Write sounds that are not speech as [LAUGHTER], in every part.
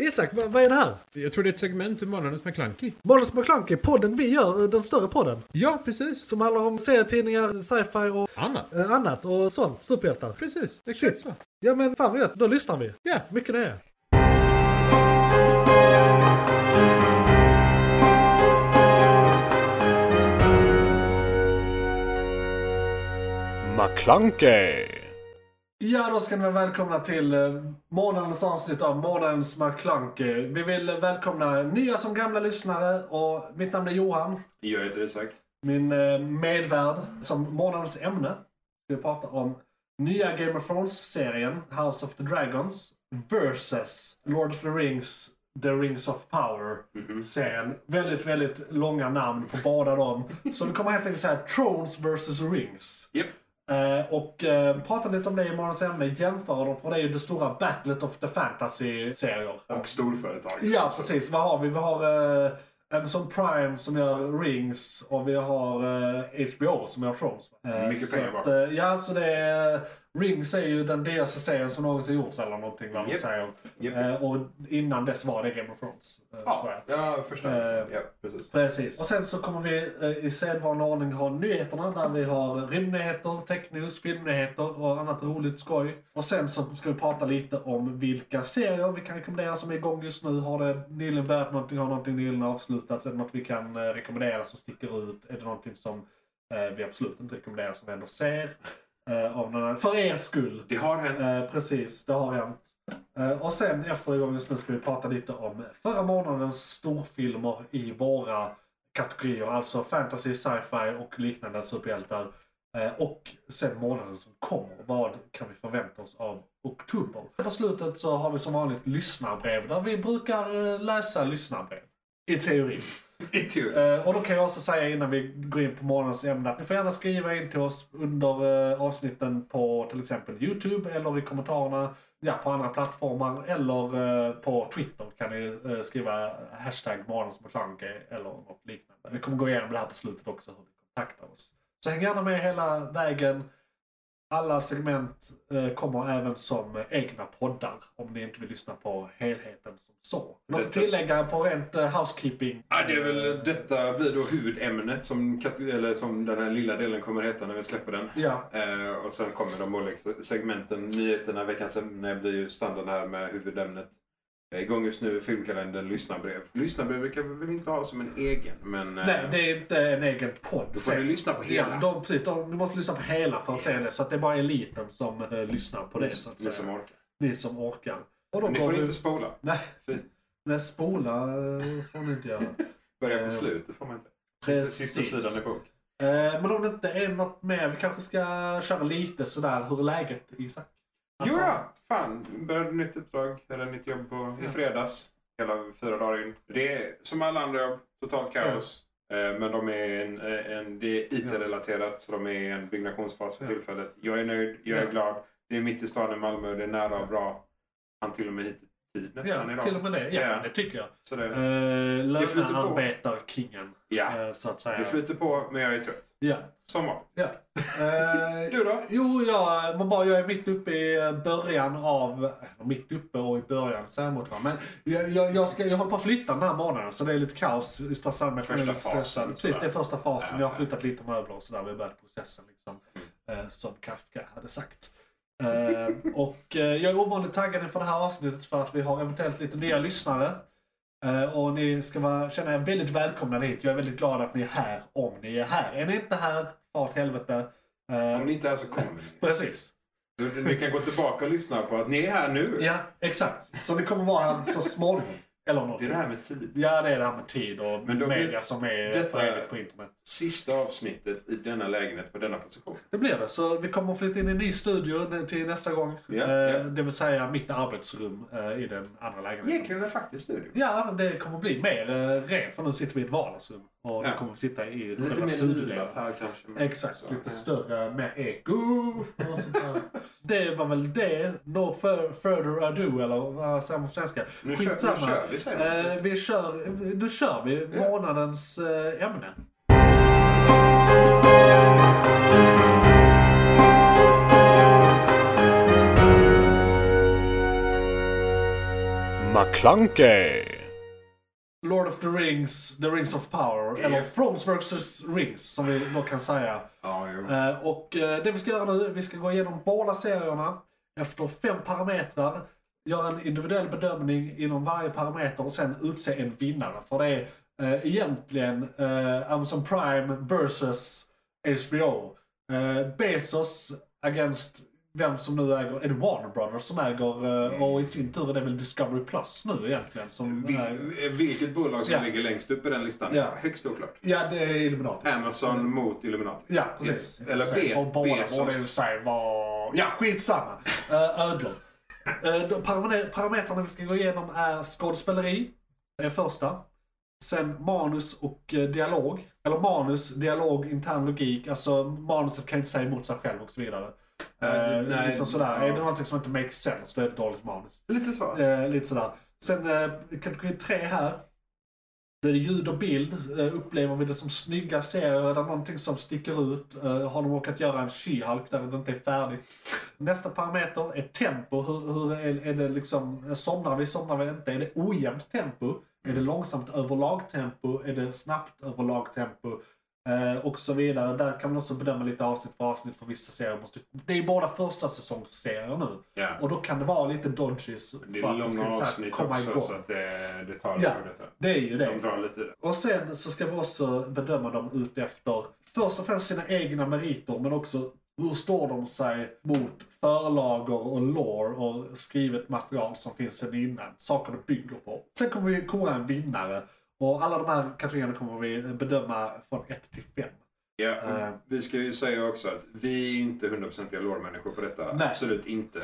Isak, vad, vad är det här? Jag tror det är ett segment ur Månadens McKlunky. Måns McClunky, podden vi gör, eh, den större podden. Ja, precis. Som handlar om serietidningar, sci-fi och Annat. eh, annat och sånt. Superhjältar. Precis, exakt så. Ja men fan vad gött, då lyssnar vi. Ja, Mycket det är. McClunkey! Ja, då ska ni vara välkomna till eh, månadens avsnitt av Månadens McClunky. Vi vill eh, välkomna nya som gamla lyssnare och mitt namn är Johan. Jag heter Isak. Min eh, medvärd som månadens ämne. Vi pratar om nya Game of Thrones-serien House of the Dragons versus Lord of the Rings The Rings of Power serien. Väldigt, väldigt långa namn på båda dem. Så vi kommer helt enkelt säga Thrones versus Rings. Japp. Eh, och eh, prata lite om det i morgons ämne, jämföra dem, för det är ju det stora battlet of the fantasy-serier. Och storföretag. Ja, precis. Vad har vi? Vi har eh, Amazon Prime som gör Rings och vi har eh, HBO som gör Thrones. Eh, Mm, Mycket så pengar att, bara. eh, Ja, så det är, Rings är ju den dyraste serien som någonsin gjorts eller någonting vad man Japp. säger. Japp. Eh, och innan dess var det Game of Thrones. Eh, tror jag. Ja, ja förstår. Eh, ja, precis. Precis. Och sen så kommer vi eh, i sedvanlig ordning ha nyheterna där vi har rymdnyheter, technews, filmnyheter och annat roligt skoj. Och sen så ska vi prata lite om vilka serier vi kan rekommendera som är igång just nu. Har det nyligen börjat någonting? Har någonting nyligen avslutats? Är det något vi kan eh, rekommendera som sticker ut? Är det någonting som eh, vi absolut inte rekommenderar som vi ändå ser? Eh, av någon annan. För er skull! Det har hänt. Eh, precis, det har hänt. Eh, och sen efter igångens nu ska vi prata lite om förra månadens storfilmer i våra kategorier. Alltså fantasy, sci-fi och liknande superhjältar. Eh, och sen månaden som kommer. Vad kan vi förvänta oss av oktober? På slutet så har vi som vanligt lyssnarbrev där vi brukar eh, läsa lyssnarbrev. I teorin. I tur. Eh, och då kan jag också säga innan vi går in på morgonens ämne att ni får gärna skriva in till oss under eh, avsnitten på till exempel Youtube eller i kommentarerna ja, på andra plattformar eller eh, på Twitter kan ni eh, skriva hashtag morgonsmclunky eller något liknande. Vi kommer gå igenom det här på slutet också hur ni kontaktar oss. Så häng gärna med hela vägen. Alla segment eh, kommer även som eh, egna poddar om ni inte vill lyssna på helheten som så. Något att tillägga på rent eh, housekeeping? Ja, det är väl, detta blir då huvudämnet som, kat- eller som den här lilla delen kommer heta när vi släpper den. Ja, Eh, och sen kommer de olika segmenten. Nyheterna, veckans ämne blir ju standard här med huvudämnet. Eh, Igång just nu filmkalendern, lyssnarbrev. Lyssnarbrev kan vi väl inte ha som en egen, men... eh, nej det är inte en egen podd. Då får ni lyssna på hela. Ja, de, precis, de, du måste lyssna på hela för att se det. Så att det är bara eliten som eh, lyssnar på det. Så att Ni säga. som orkar. Ni som orkar. Och då Ni går får vi- inte spola. Nej, Fy. nej, spola eh, får ni inte göra. Börja Eh, på slutet får man inte. Sista, sista Precis. sidan i bok. Eh, men om det inte är något mer, vi kanske ska köra lite sådär, hur är läget Isak? Jo då, fan. Började nytt uppdrag, eller nytt jobb på, i Ja. fredags. Hela fyra dagar in. Det är som alla andra jobb, totalt kaos. Eh, Men de är en, eh, en, det är IT-relaterat, så de är i en byggnationsfas för Ja. tillfället. Jag är nöjd, jag är Ja. glad. Det är mitt i staden Malmö, det är nära och bra. Han till och med hit i tid nästan Ja, idag. till och med det. Ja, Ja. det tycker jag. Så det, Eh, Det flyter på. Lönearbetarkingen, ja, eh, så att säga. det flyter på, men jag är trött. Ja. Som vanligt. ja. [LAUGHS] Eh, Du då? Jo, jag, man bara, jag är mitt uppe i eh, början av... eller Mitt uppe och i början säremot. va. Men jag, jag, jag, ska, jag håller på att flytta den här månaden så det är lite kaos i största allmänhet. Första Jag är lite fasen, stressad. sådär. Precis, det är första fasen. Ja, Jag har ja. flyttat lite möbler och sådär. Vi har börjat processen liksom. Eh, som Kafka hade [LAUGHS] sagt. Eh, och eh, jag är ovanligt taggad inför det här avsnittet för att vi har eventuellt lite nya lyssnare. Eh, och ni ska vara, känna er väldigt välkomna hit. Jag är väldigt glad att ni är här, om ni är här. Är ni inte här, far åt helvete. Eh, Om ni inte är så kommer ni. Precis. Du- Ni kan gå tillbaka och lyssna på att ni är här nu. Ja, exakt. Så ni kommer vara här så småningom. Eller Det någonting. är det här med tid. Ja, det är det här med tid och Men då blir- media som är detta- förenligt på internet. sista avsnittet i denna lägenhet på denna position. Det blir det. Så vi kommer att flytta in i en ny studio till nästa gång. Ja, Eh, ja. Det vill säga mitt arbetsrum eh, i den andra lägenheten. Egentligen en faktisk studio. Ja, det kommer bli mer eh, rent för nu sitter vi i ett vardagsrum. Och nu Ja. kommer vi sitta i Lite själva mer lulat studiodelen. här kanske. men- Exakt, så, lite ja. större, mer eko och sånt där. Det var väl det. No fur- further ado, eller vad säger man på svenska? Nu kör, nu kör vi säger man. Eh, vi kör, då kör vi Ja. månadens eh, ämne. McClunkey. Lord of the Rings, The Rings of Power, Ja. eller Thrones vs. Rings som vi då kan säga. Ja, jo. Eh, Och eh, det vi ska göra nu, vi ska gå igenom båda serierna efter fem parametrar, göra en individuell bedömning inom varje parameter och sen utse en vinnare. För det är eh, egentligen eh, Amazon Prime versus HBO. Eh, Bezos against vem som nu äger, är det Warner Brothers som äger, eh, och i sin tur är det väl Discovery Plus nu egentligen som äger. Eh, Vil- vilket bolag som Ja. ligger längst upp i den listan? Ja. Mm. Högst oklart. Ja, det är Illuminati. Amazon mot Illuminati. Ja, precis. Yes. Eller Så, Be- och båda Bezos. borde ju säga var... Ja, skitsamma. Uh, ödlor. Eh, de paramene- parametrarna vi ska gå igenom är skådespeleri, det är första. Sen manus och eh, dialog. Eller manus, dialog, intern logik. Alltså manuset kan ju inte säga emot sig själv och så vidare. Ja, det- Eh, nej, liksom sådär. ja. Är det någonting som inte makes sense, då är det dåligt manus. Lite så. Eh, lite sådär. Sen eh, kategori tre här. Det är ljud och bild. Eh, upplever vi det som snygga serier? Är det någonting som sticker ut? Eh, har de råkat göra en She-Hulk där det inte är färdigt? Nästa parameter är tempo. Hur, hur är, är det liksom, somnar vi, somnar vi inte? Är det ojämnt tempo? Är det långsamt överlag tempo? Är det snabbt överlag tempo? Eh, och så vidare. Där kan man också bedöma lite avsnitt för avsnitt för vissa serier. Måste, det är båda första säsongsserier nu. Ja. Och då kan det vara lite dodges Det för är att det ska, så långa här, avsnitt komma också igång. så att det, det tar Ja. lite på detta. Det är ju De det. drar lite i det. Och sen så ska vi också bedöma dem utefter först och främst sina egna meriter men också hur står de sig mot förlagor och lore och skrivet material som finns sedan innan. Saker det bygger på. Sen kommer vi kora en vinnare. Och alla de här kategorierna kommer vi bedöma från 1 till 5. Ja, och Eh. Vi ska ju säga också att vi är inte hundraprocentiga lårmänniskor på detta. Nej. Absolut inte.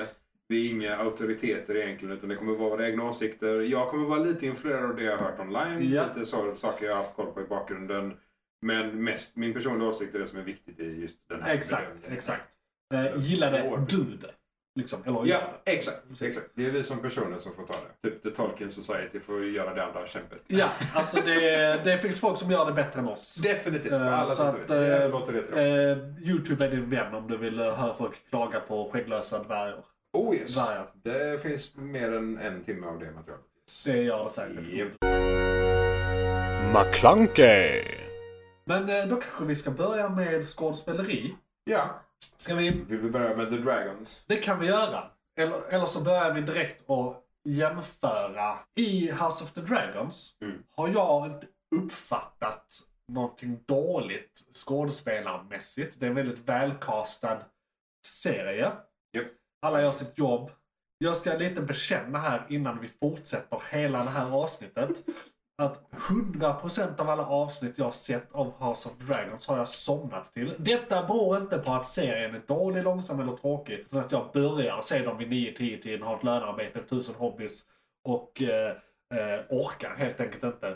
Vi är inga auktoriteter egentligen utan det kommer vara våra egna åsikter. Jag kommer vara lite influerad av det jag har hört online. Ja. Lite så, saker jag har haft koll på i bakgrunden. Men mest min personliga åsikt är det som är viktigt i just den här Exakt, bedömningen. exakt. Eh, gillade Får. du det? Liksom, eller Ja, gör det? exakt, exakt. Det är vi som personer som får ta det. Typ The Tolkien Society får göra det andra kämpet. Ja, alltså det, det finns folk som gör det bättre än oss. Definitivt. på Eh, alla så sätt och att, vis. Det eh, låter rätt bra. Eh, Youtube är din vän om du vill eh, höra folk klaga på skägglösa dvärgar. Oh yes. varje. Det finns mer än en timme av det materialet. Det gör det säkert. Japp. McClunkey. Men eh, då kanske vi ska börja med skådespeleri. Ja. Ska vi? Vill vi börja med The Dragons? Det kan vi göra. Eller, eller så börjar vi direkt och jämföra. I House of the Dragons Mm. har jag inte uppfattat någonting dåligt skådespelarmässigt. Det är en väldigt välkastad serie. Japp. Alla gör sitt jobb. Jag ska lite bekänna här innan vi fortsätter hela det här avsnittet. Att 100% av alla avsnitt jag sett av House of Dragons har jag somnat till. Detta beror inte på att serien är dålig, långsam eller tråkig. Utan att jag börjar se dem vid 9-10 tiden, har ett lönearbete, 1000 hobbies och eh, eh, orkar helt enkelt inte.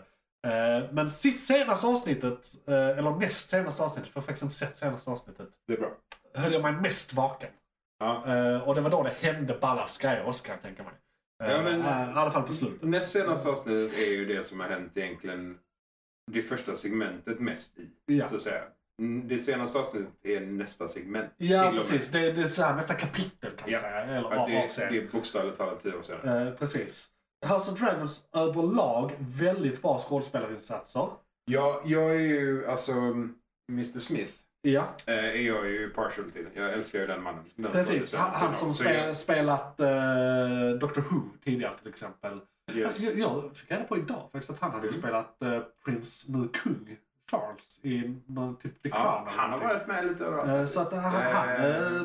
Eh, men sist senaste avsnittet, eh, eller näst senaste avsnittet, för jag har faktiskt inte sett senaste avsnittet, Det är bra. höll jag mig mest vaken. Ja. Eh, och det var då det hände ballast grejer också kan jag tänka mig. Eh, Ja, men- eh, I alla fall på slutet. Näst senaste avsnittet är ju det som har hänt egentligen det första segmentet mest i. Ja, Så att säga. Mm, Det senaste avsnittet är nästa segment. till ja och med. precis. Det, det är så här, nästa kapitel kan man Ja. säga. Eller Ja, av- av det, serien. det är bokstavligt talat tio år sedan. Eh, precis. House of Dragons överlag väldigt bra skådespelarinsatser. Ja, jag är ju alltså Mr Smith. Ja, eh, Är jag ju partial till. Jag älskar ju den mannen. Den precis. skådespelaren. Han, han som Så spe, jag- spelat eh, Doctor Who tidigare till exempel. yes. Alltså, jag, jag fick reda på idag faktiskt att han hade Mm. spelat eh, prins, nu kung, Charles i någon typ The Crown. Ja, eller han har någonting. varit med lite överallt. Eh, faktiskt. Så att han... han Eh, eh,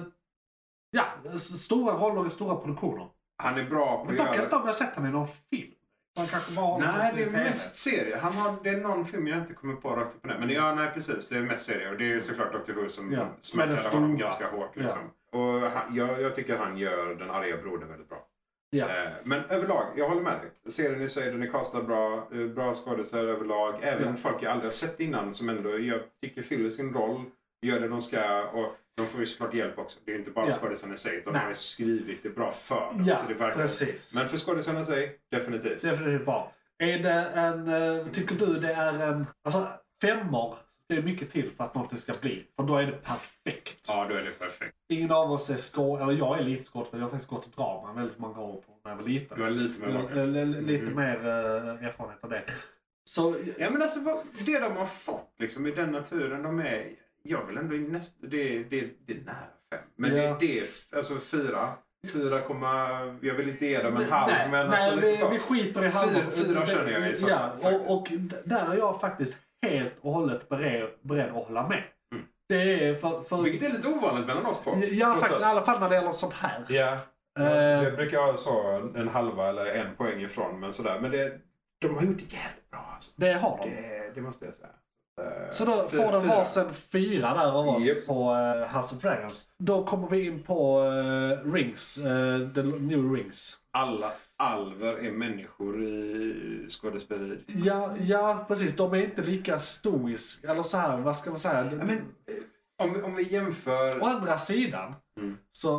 ja, s- stora roller i stora produktioner. han är bra på Men att dock göra... inte om jag sett honom i någon film. Han kanske bara har Nej, något det är i TV. mest serier. Han har, det är någon film jag inte kommer på rakt upp och ner. Men ja, nej precis. Det är mest serier. Och det är såklart Dr. Who som Ja, som är den smäller honom stora. ganska hårt. Liksom. Och han, jag, jag tycker han gör den arga brodern väldigt bra. Ja. Eh, men överlag, jag håller med dig. Serien i sig, den är castad bra. eh, Bra skådespelare överlag. Även Ja. folk jag aldrig har sett innan som ändå jag tycker fyller sin roll. Gör det de ska. Och de får ju såklart hjälp också. Det är ju inte bara Ja. skådisen i sig. Utan Nej. de har ju skrivit det bra för dem. Ja, så det verkar... precis. Men för skådisen i sig, definitivt. Definitivt bra. Är det en... eh, Tycker du det är en... Alltså, femmor. Det är mycket till för att någonting ska bli. För då är det perfekt. Ja, då är det perfekt. Ingen av oss är skå... Eller jag är lite skådespelare. Jag har faktiskt gått drama väldigt många år på när jag ändå lite. Du har lite med L- bakom. l- l- lite Mm. mer eh, erfarenhet av det. Så Ja men alltså vad, det de har fått liksom i den naturen de är. Jag vill ändå näst, det, är- det, är- det är nära fem. Men Ja. det, det är f- alltså fyra. Fyra komma, jag vill inte ge dem en Nej, halv nej, men nej, alltså lite vi, så. vi skiter i halva. Fyra- fyra känner jag i så Ja, fall, faktiskt. och, och d- där är jag faktiskt helt och hållet beredd, beredd att hålla med. Mm. Det är för... för Vilket är lite ovanligt mellan oss två. ja, trots faktiskt. I allt. alla fall när det gäller sånt här. Ja. Eh, Jag brukar ha så en halva eller en poäng ifrån men sådär. Men det, de har gjort det jävligt bra alltså. det har de. Det, det måste jag säga. Eh, Så då fyra- får den fyra. varsin fyra där av oss Japp. på eh, House of Dragons. Då kommer vi in på eh, Rings, eh, The New Rings. Alla alver är människor i skådespeleri. Ja, ja, precis. De är inte lika stoiska. Eller så här, vad ska man säga? Ja, men, eh, om, om vi jämför... Å andra sidan, Mm. så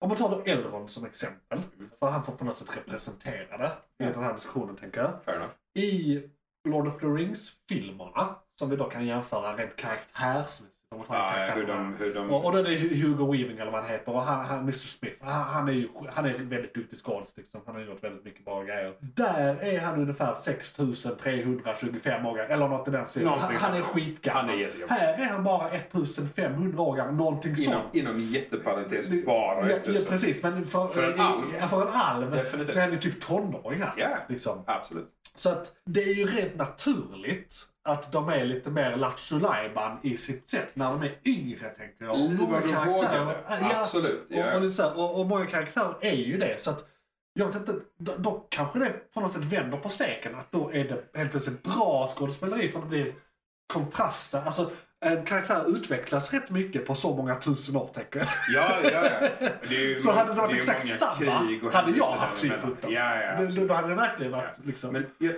om man tar då Elrond som exempel, för han får på något sätt representera det i Mm. Ja. den här diskussionen tänker jag. Fair enough. I Lord of the Rings-filmerna, som vi då kan jämföra rent karaktärsmässigt. om man tar Ja, ja, karaktärerna. hur de... Hur de Och, och då är det Hugo Weaving eller vad han heter. Och han, han, Mr Smith. Han, han är ju han är väldigt duktig skådis. Liksom. Han har gjort väldigt mycket bra grejer. Där är han ungefär 6325 år gammal. Eller något i den stilen. Han, Någonting han är sånt. skitgammal. Han är jättegammal. Här är han bara 1500 år gammal. Någonting sånt. inom, inom jätteparentes bara Ja, ett ja, tusen. precis, men för, För en i- alv. Ja, för en alv Definitivt. så är han ju typ tonåring här. Ja, Liksom. absolut. Så att det är ju rent naturligt att de är lite mer Lattjo Lajban i sitt sätt när de är yngre tänker jag. Och I många vad du karaktärer- vågade. Ja, Absolut. och, och, Ja. lite så här, och, och många karaktärer är ju det. Så att, jag vet inte, då, då kanske det på något sätt vänder på steken. Att då är det helt plötsligt bra skådespeleri för det blir kontraster. Alltså, en karaktär utvecklas rätt mycket på så många tusen år, tänker jag. Ja, ja, ja. Det är ju Så hade det varit är ju exakt många samma, krig och hade jag händelser haft däremellan. synpunkter. Ja, ja. Men absolut. Då, då hade det verkligen varit liksom... Men, ja,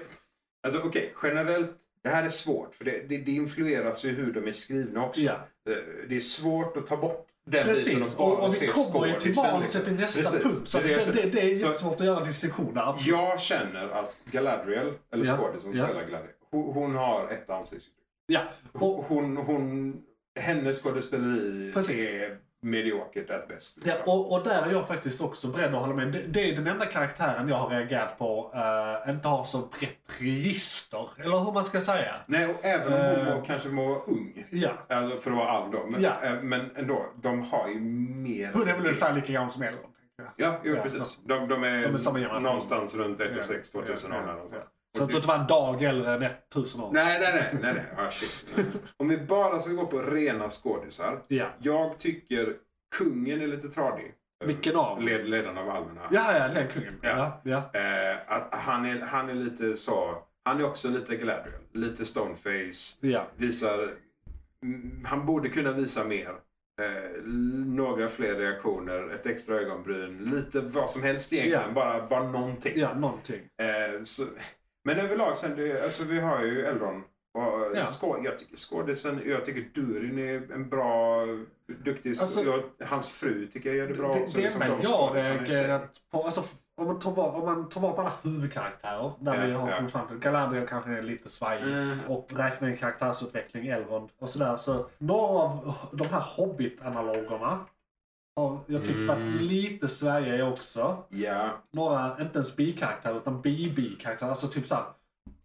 alltså okej, generellt. Det här är svårt för det, det, det influeras ju hur de är skrivna också. ja. Eh, Det är svårt att ta bort den biten Precis, bara och, och se vi kommer ju till skådisen, manuset i liksom. nästa Precis, punkt. Så det, jag det, känner. det, det är Så- jättesvårt att göra en distinktion där. absolut. Jag känner att Galadriel, eller Ja, skådisen ja. som spelar Galadriel, hon, hon har ett ansiktsuttryck. Ja. Hon, hon, hon, hennes skådespeleri Precis. är mediokert at bäst. Ja, Liksom. och, och där är jag faktiskt också beredd att hålla med. Det, det är den enda karaktären jag har reagerat på eh, inte har så brett register. Eller hur man ska säga. Nej, och även om hon Eh. må, kanske må vara ung, Ja. alltså för att vara all då, men, Ja. eh, men ändå, de har ju mer... Hon är väl ungefär lika gammal som Elrond. tänker jag. Ja, jo, Ja, precis. De, de, är De är samma generation. någonstans runt 1 2000 år. Ja, ja, någonstans. ja. Så att det inte var en dag äldre än 1000 år. Nej, nej, nej. nej, nej. Ah, shit. Om vi bara ska gå på rena skådisar. Ja. Jag tycker kungen är lite tradig. Vilken av? Led, ledaren av alverna. Ja, ja, den kungen. Ja. Ja, ja. Eh, att han, är, han är lite så... Han är också lite Galadriel. Lite stoneface. ja. Visar... mm, Han borde kunna visa mer. Eh, l- några fler reaktioner, ett extra ögonbryn. Lite vad som helst egentligen. Ja. Bara, bara någonting. Ja, någonting. Eh, så, men överlag, sen, det, alltså, vi har ju Elrond. Och, eh, Ja. skå, jag tycker skådisen, jag tycker Durin är en bra, duktig Alltså- skådis. jag, hans fru tycker jag gör det bra. Det, också, det liksom, enda de jag skådisarna i sig. reagerat på, alltså, f- om, man tar bort, om man tar bort alla huvudkaraktärer, där Ja, vi har ja. kommit fram till Galadriel kanske är lite svajig. Mm. Och räkna in karaktärsutveckling, Elrond och sådär. Så några av de här Hobbit-analogerna har jag tyckt Mm. varit lite svajiga också. Ja, Några, inte ens bikaraktär utan bi-bikaraktär. Alltså typ såhär,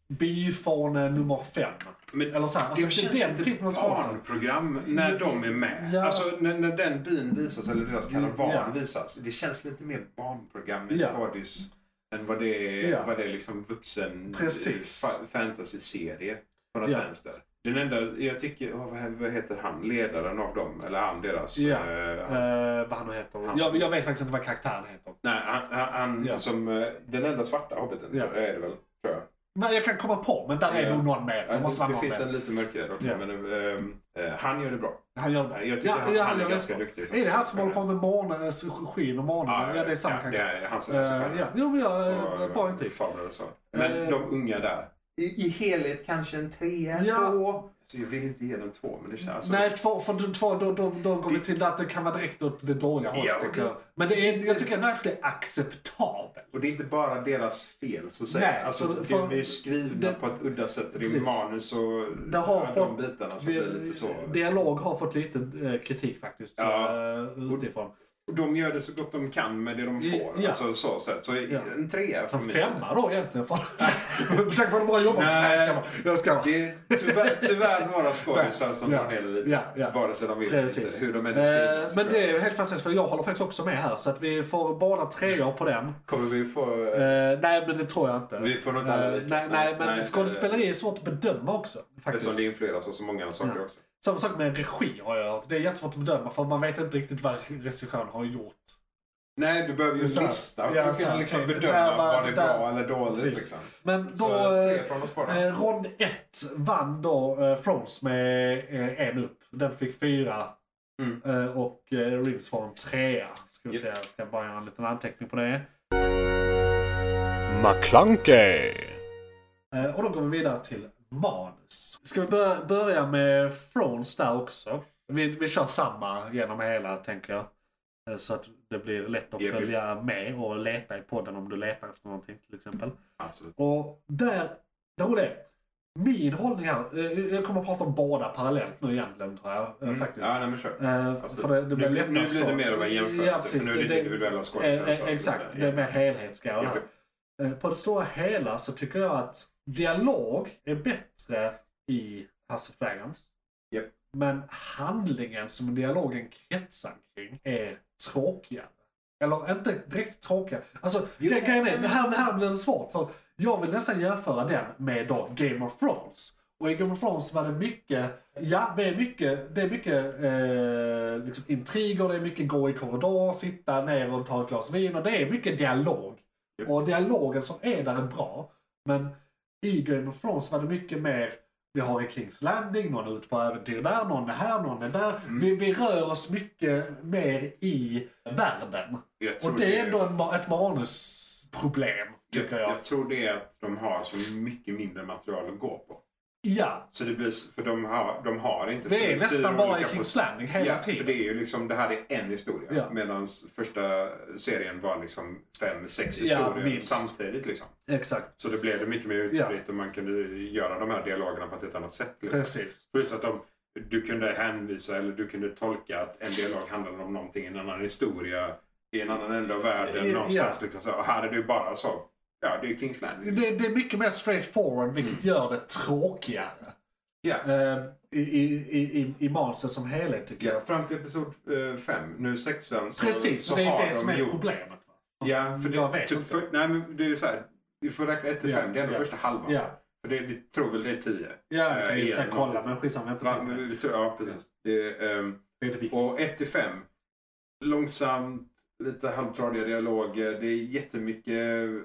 bifåne nummer fem. men Eller såhär, det alltså känns den lite typen av skådisar. barnprogram när de är med. Ja. Alltså när, när den byn visas, eller deras karavan Ja. visas. Det känns lite mer barnprogram i Ja. skådis än vad det är, Ja. vad det är liksom vuxen Precis. fa- fantasy-serie på något Ja. vänster. Den enda, jag tycker, åh, vad, vad heter han, ledaren av dem? Eller han, deras... Ja. eh, hans, Eh, vad han nu heter. Hans- Jag, jag vet faktiskt inte vad karaktären heter. Nej, han, han, han Ja. som... eh, Den enda svarta hobbiten Ja. är det väl, tror jag. Men jag kan komma på, men där är Ja. nog någon mer. Det Ja, måste vara det någon finns mer. en lite mörkare också, Ja. men ehm, eh, han gör det bra. Han gör det bra. Jag tycker han, ja, han gör är det ganska bra. duktig. Är det han som håller på med månadens skin och månaden? Ja, det är samma ja, kanske. Ja, han som läser Eh, Ja, jo, men jag är bra intryck. Faber eh, och så. Men Eh, de unga där. I, I helhet kanske en trea, Ja. två. Alltså, jag vill inte ge den två, men det känns... Alltså, Nej, två, för de- två, då, då, då går vi Det- till att det kan vara direkt åt det dåliga hållet. Ja, och tycker det- jag. Men det är, jag tycker ändå att det är acceptabelt. Och det är inte bara deras fel, så att säga. Nej, alltså, för- det för- blir skrivna det- på ett udda sätt. Det är Precis. manus och Det har ja, fått- de bitarna som blir alltså, lite så. Dialog har fått lite eh, kritik faktiskt Ja. eh, utifrån. Och de gör det så gott de kan med det de får. Ja. Alltså så sätt. Så Ja. en trea Så från min sida. femma då egentligen. [LAUGHS] Fan. [LAUGHS] Med tanke på hur bra jobbar. Nej. Nej, jag ska vara. Det är tyvärr, tyvärr några skådisar som Ja. tar ner det lite. Ja, ja. Vare sig de vill Precis. inte, hur de än är skrivna. Eh, så men tror jag. det är ju helt fantastiskt för jag håller faktiskt också med här. Så att vi får båda treor på den. Kommer vi få... Eh, nej, men det tror jag inte. Vi får nog inte Eh, alla lika. nej, nej, men Nej, nej, skådespeleri är svårt att bedöma också. Eftersom Faktiskt. det influeras av så många saker Ja. också. Samma sak med regi har jag hört. Det är jättesvårt att bedöma för man vet inte riktigt vad regissören har gjort. Nej, du behöver ju en Så här. lista Ja, för att så här, kunna liksom okej, det bedöma där var- vad det är det där. bra eller dåligt. Precis. Liksom. Men då... Så eh, tre från oss bara. Eh, rond 1 vann då eh, Thrones med eh, en upp. Den fick fyra. Mm. Eh, och eh, Rings får en trea. Ska vi Yep. se, jag ska bara göra en liten anteckning på det. McClunkey, Eh, och då går vi vidare till manus. Ska vi börja, börja med Thrones där också? Vi, vi kör samma genom hela tänker jag. Eh, Så att det blir lätt att Yep, yep. följa med och leta i podden om du letar efter någonting till exempel. Absolut. Och där, det roliga är, min hållning här, eh, jag kommer att prata om båda parallellt nu egentligen tror jag. eh, Mm. Faktiskt. Ja, nej, men kör. Eh, Absolut. För det, det blir nu, lättast nu blir det då. mer av en jämförelse, Ja, precis. för nu är det, individuella skådespelare. eh, så eh, Exakt, alltså, det är mer helhetsgrejer. Ja. här. Eh, På det stora hela så tycker jag att dialog är bättre i House of Dragons. Japp. Men handlingen som dialogen kretsar kring är tråkigare. Eller inte direkt tråkigare. Alltså, Jo. gre- grejen är, det här, det här blir svårt. För jag vill nästan jämföra den med då Game of Thrones. Och i Game of Thrones var det mycket, ja det är mycket, det är mycket eh, liksom intriger, det är mycket gå i korridor, sitta ner och ta ett glas vin och det är mycket dialog. Japp. Och dialogen som är där är bra. Men i Game of Thrones var det mycket mer, vi har i Kings Landing, någon är ute på äventyr där, någon är här, någon är där. Mm. Vi, vi rör oss mycket mer i världen. Jag tror Och det är ändå en, ma- ett manusproblem, tycker jag. Jag tror det är att de har så mycket mindre material att gå på. Ja, Så det blir, s- för de har, de har inte... Det är fyra nästan bara i olika Kings pos- Landing hela ja, tiden. För det är ju liksom, det här är en historia. Ja. Medan första serien var liksom fem, sex Ja, historier minst. samtidigt. Liksom. Exakt. Så det blev det mycket mer utspritt och man kunde göra de här dialogerna på ett helt annat sätt. Liksom. Precis. Plus att de, du kunde hänvisa eller du kunde tolka att en dialog handlade om någonting i en annan historia i en annan ände av världen Ja. någonstans. Liksom, så. Och här är det ju bara så. Ja, det är ju Kings Landing. Det, det är mycket mer straightforward vilket Mm. gör det tråkigare. Ja. Eh, I i, i, i, i manuset som helhet tycker Ja, jag. fram till episod 5, nu sexan, så, Precis, så det har är det de som är gjort... problemet. va? Ja, för Jag det, vet typ, inte. för, nej, men det är ju så här. Vi får räkna 1 till Ja, 5, det är ändå ja. första halvan. Ja, För det, vi tror väl det är 10. ja Eh, jag kan ju igen, sen kolla någonting. men skitsamma. Jag har Va? inte tänkt på Men vi tror- Ja, precis. Det, är, ehm, det. Det är det viktiga. Och 1 till 5. Långsamt, lite halvtradiga dialoger. Det är jättemycket eh,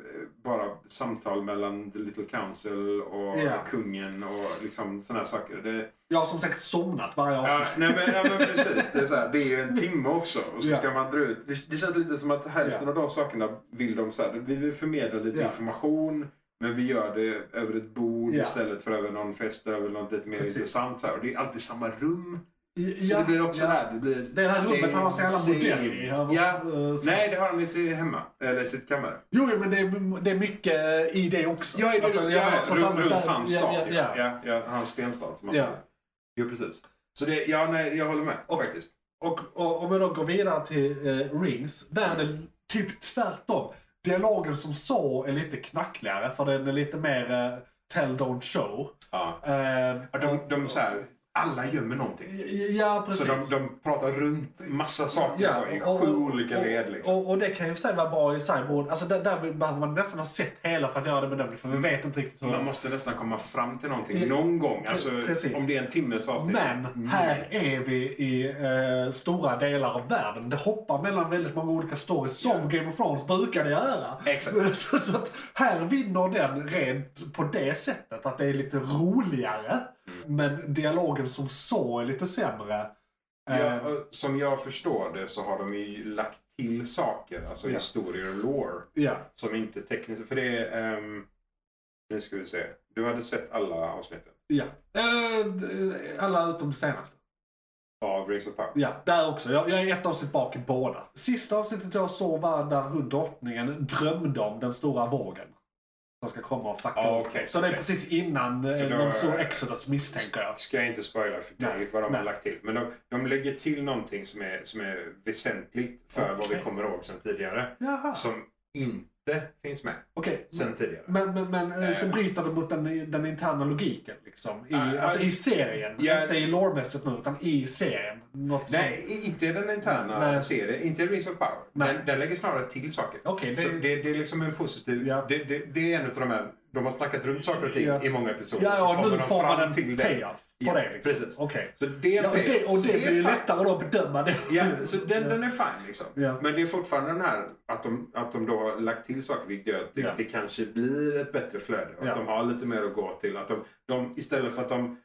bara samtal mellan The Little Council och Ja. kungen och liksom sådana här saker. Det, Jag har som sagt somnat varje ja, avsnitt. nej, men, ja, men [LAUGHS] precis. Det är, så här, det är ju en timme också och så Ja. ska man dra ut. Det, det känns lite som att hälften Ja. av de sakerna vill de så här, vi vill förmedla lite Ja. information. Men vi gör det över ett bord Ja. istället för över någon fest eller över något lite mer Precis. intressant. Så här. Och det är alltid samma rum. Så Ja, det blir också ja. där. Det, blir Det här rummet han har så jävla same, modell i. Han har- Ja. eh, så- Nej, det har han i sitt hemma. Eller sitt kammare. Jo, jo, men det är, det är mycket eh, i det också. Ja, i det, Alltså, ja, jag menar, så runt, samma- runt hans ja, stad. ja, ju. ja. Ja, ja, hans stenstad. Som han Ja. kallar det. Jo, precis. Så det, ja, nej, jag håller med Och- faktiskt. Och, och om jag då går vidare till eh, Rings, där är Mm. det typ tvärtom. Dialogen som så är lite knackligare för den är lite mer eh, tell don't show. Ja. Eh, Ja, De, de så här, alla gömmer någonting. ja, precis. Så de, de pratar runt massa saker så, Liksom, i och- sju och- olika och, led. Liksom. Och, och det kan ju säga vara bra i Cyborg. Alltså där, där vill- behöver man nästan ha sett hela för att göra det bedömning för vi vet inte riktigt hur Man måste nästan komma fram till Ja, någonting någon gång. Alltså, precis. om det är en timmes avsnitt. Mm. Men här är vi i eh, stora delar av världen. Det hoppar mellan väldigt många olika stories som Game of Thrones brukade göra. Mm, [LAUGHS] Exakt. Så, så att här vinner den rent på det sättet att det är lite roligare. Mm. Men dialogen som så är lite sämre. Eh, Ja, och som jag förstår det så har de ju lagt till saker, alltså Ja. historier och lore, ja. som inte är tekniskt... För det är... ehm, nu ska vi se. Du hade sett alla avsnitten ja. Eh, alla utom det senaste. av Rings of Power? Ja, där också. Jag, jag är ett avsnitt bak i båda. Sista avsnittet jag såg var där hon drottningen drömde om den stora vågen. som ska komma och fucka Ja, upp. Ah, okej, Så det är okej. precis innan eh, För då- de såg Exodus misstänker jag. Ska jag inte spoila för dig Nej, vad de nej. har lagt till. Men de, de lägger till någonting som är, som är väsentligt för vad vi Okej. kommer ihåg sen tidigare. Jaha. Som inte finns med Okej. sen tidigare. Men, men, men eh, så Eh. bryter det mot den, den interna logiken liksom. I, Ja, alltså ja, i serien. Ah, ja. inte i lårmässigt nu, utan i serien. Något som- Nej, i- inte i den interna Nej. serien. Inte i Rings of Power. Nej. Den, den lägger snarare till saker. Okej, det- det... Så det, det är liksom en positiv... Ja. Det, det, det är en av de här... De har snackat runt saker och ting Ja. i många episoder. Ja, så ja, kommer nu de får man fram en till det. payoff på Ja, det. Liksom. precis. Okej. Så det är Ja, och det, och payoff. det Så blir ju är fan- lättare då att bedöma det. Ja, så den, Ja. den är fine liksom. Ja. Men det är fortfarande den här att de, att de då har lagt till saker vilket gör att det, Ja. det kanske blir ett bättre flöde. Och Ja. Att de har lite mer att gå till. Att de, de, istället för att de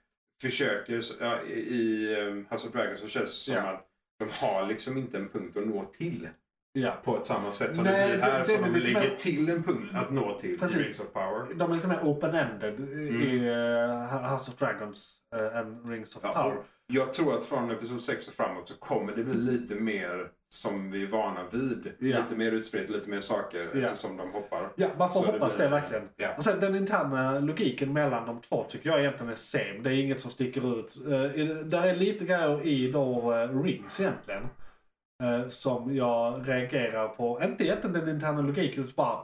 försöker så- ja, i- i eh, House of Dragons så känns det som Ja. att de har liksom inte en punkt att nå till Ja. på ett samma sätt som Nej, det det- blir här. det som är de lite lägger mer- till en punkt att nå till Precis. i Rings of Power. De är lite mer open-ended i eh, House of Dragons eh, än Rings of Mm. Ja, Power. och eh, jag tror att från episod 6 och framåt så kommer det bli lite mer som vi är vana vid. Ja. Lite mer utspritt, lite mer saker Ja. eftersom de hoppar. Ja, man får Så det hoppas det, blir- verkligen. Ja. Och sen den interna logiken mellan de två tycker jag egentligen är same. Det är inget som sticker ut. Eh, i- där är lite grejer i då eh, Rings egentligen. eh, som jag reagerar på. Inte egentligen den interna logiken, utan bara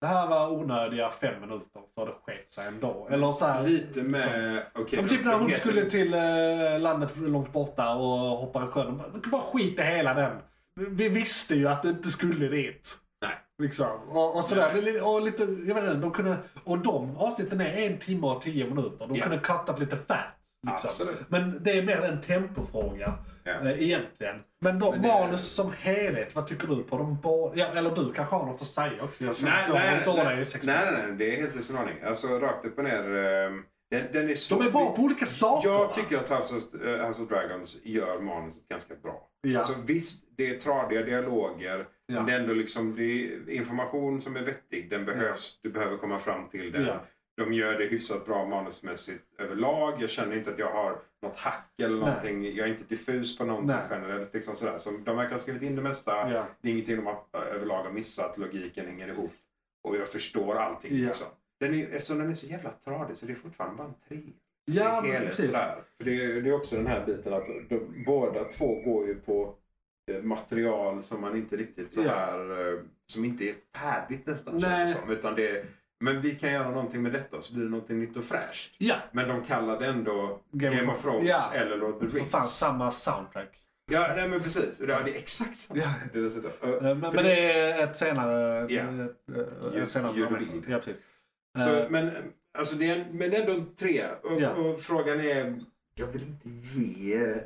det här var onödiga fem minuter för det sket sig ändå. Eller så här, Lite med... liksom. okej, Ja, men typ när de hon heter- skulle till eh, landet långt borta och hoppa i sjön. Man kan bara skita i hela den. Vi visste ju att du inte skulle dit. Nej. Liksom. Och, och sådär. Det är li- Och lite, jag vet inte, de kunde, och de avsnitten är en timme och tio minuter. De Ja. kunde cuttat lite fat. Liksom. Absolut. Men det är mer en tempofråga. Ja. Eh, egentligen. Men de Men det- manus som helhet, vad tycker du på dem båda? Ja, eller du kanske har något att säga också? Jag känner Nej, att jag har nej, hållit av dig nej, i sex nej, minuter. nej, nej, det är helt i sin ordning. Alltså rakt upp och ner. ehm, Den, den är svår. De är bra på olika saker. va? Jag tycker att House of, eh, House of Dragons gör manuset ganska bra. Ja. Alltså visst, det är tradiga dialoger. Ja. Men det är ändå liksom det är information som är vettig. Den behövs. Du behöver komma fram till den. Ja. De gör det hyfsat bra manusmässigt överlag. Jag känner inte att jag har något hack eller Nej. någonting. Jag är inte diffus på någonting Nej. generellt. Liksom sådär. Så de verkar ha skrivit in det mesta. Ja. Det är ingenting de har, eh, överlag har missat. Logiken hänger ihop. Och jag förstår allting. Ja. Liksom. Den är, eftersom den är så jävla tradig så det är fortfarande bara en tre. Ja, Det är men helhet precis. sådär. För det, är- det är också den här biten att de, båda två går ju på eh, material som man inte riktigt så Ja. här, eh, som inte är färdigt nästan Nej. känns det som. Utan det är, men vi kan göra någonting med detta så blir det någonting nytt och fräscht. Ja, Men de kallar det ändå Game Game, of of Thrones Ja. eller Lord of the för Rings. fan samma soundtrack. Ja, nej men precis. Ja, det är exakt samma. Ja. Det är dessutom. Eh, Men, men För det- det är ett senare... Ja. Yeah. Ljud- eh, senare ljud och moment. bild. Ja, precis. Så, Eh, men, alltså det är, men ändå en trea. Och, Ja. och frågan är... Jag vill inte ge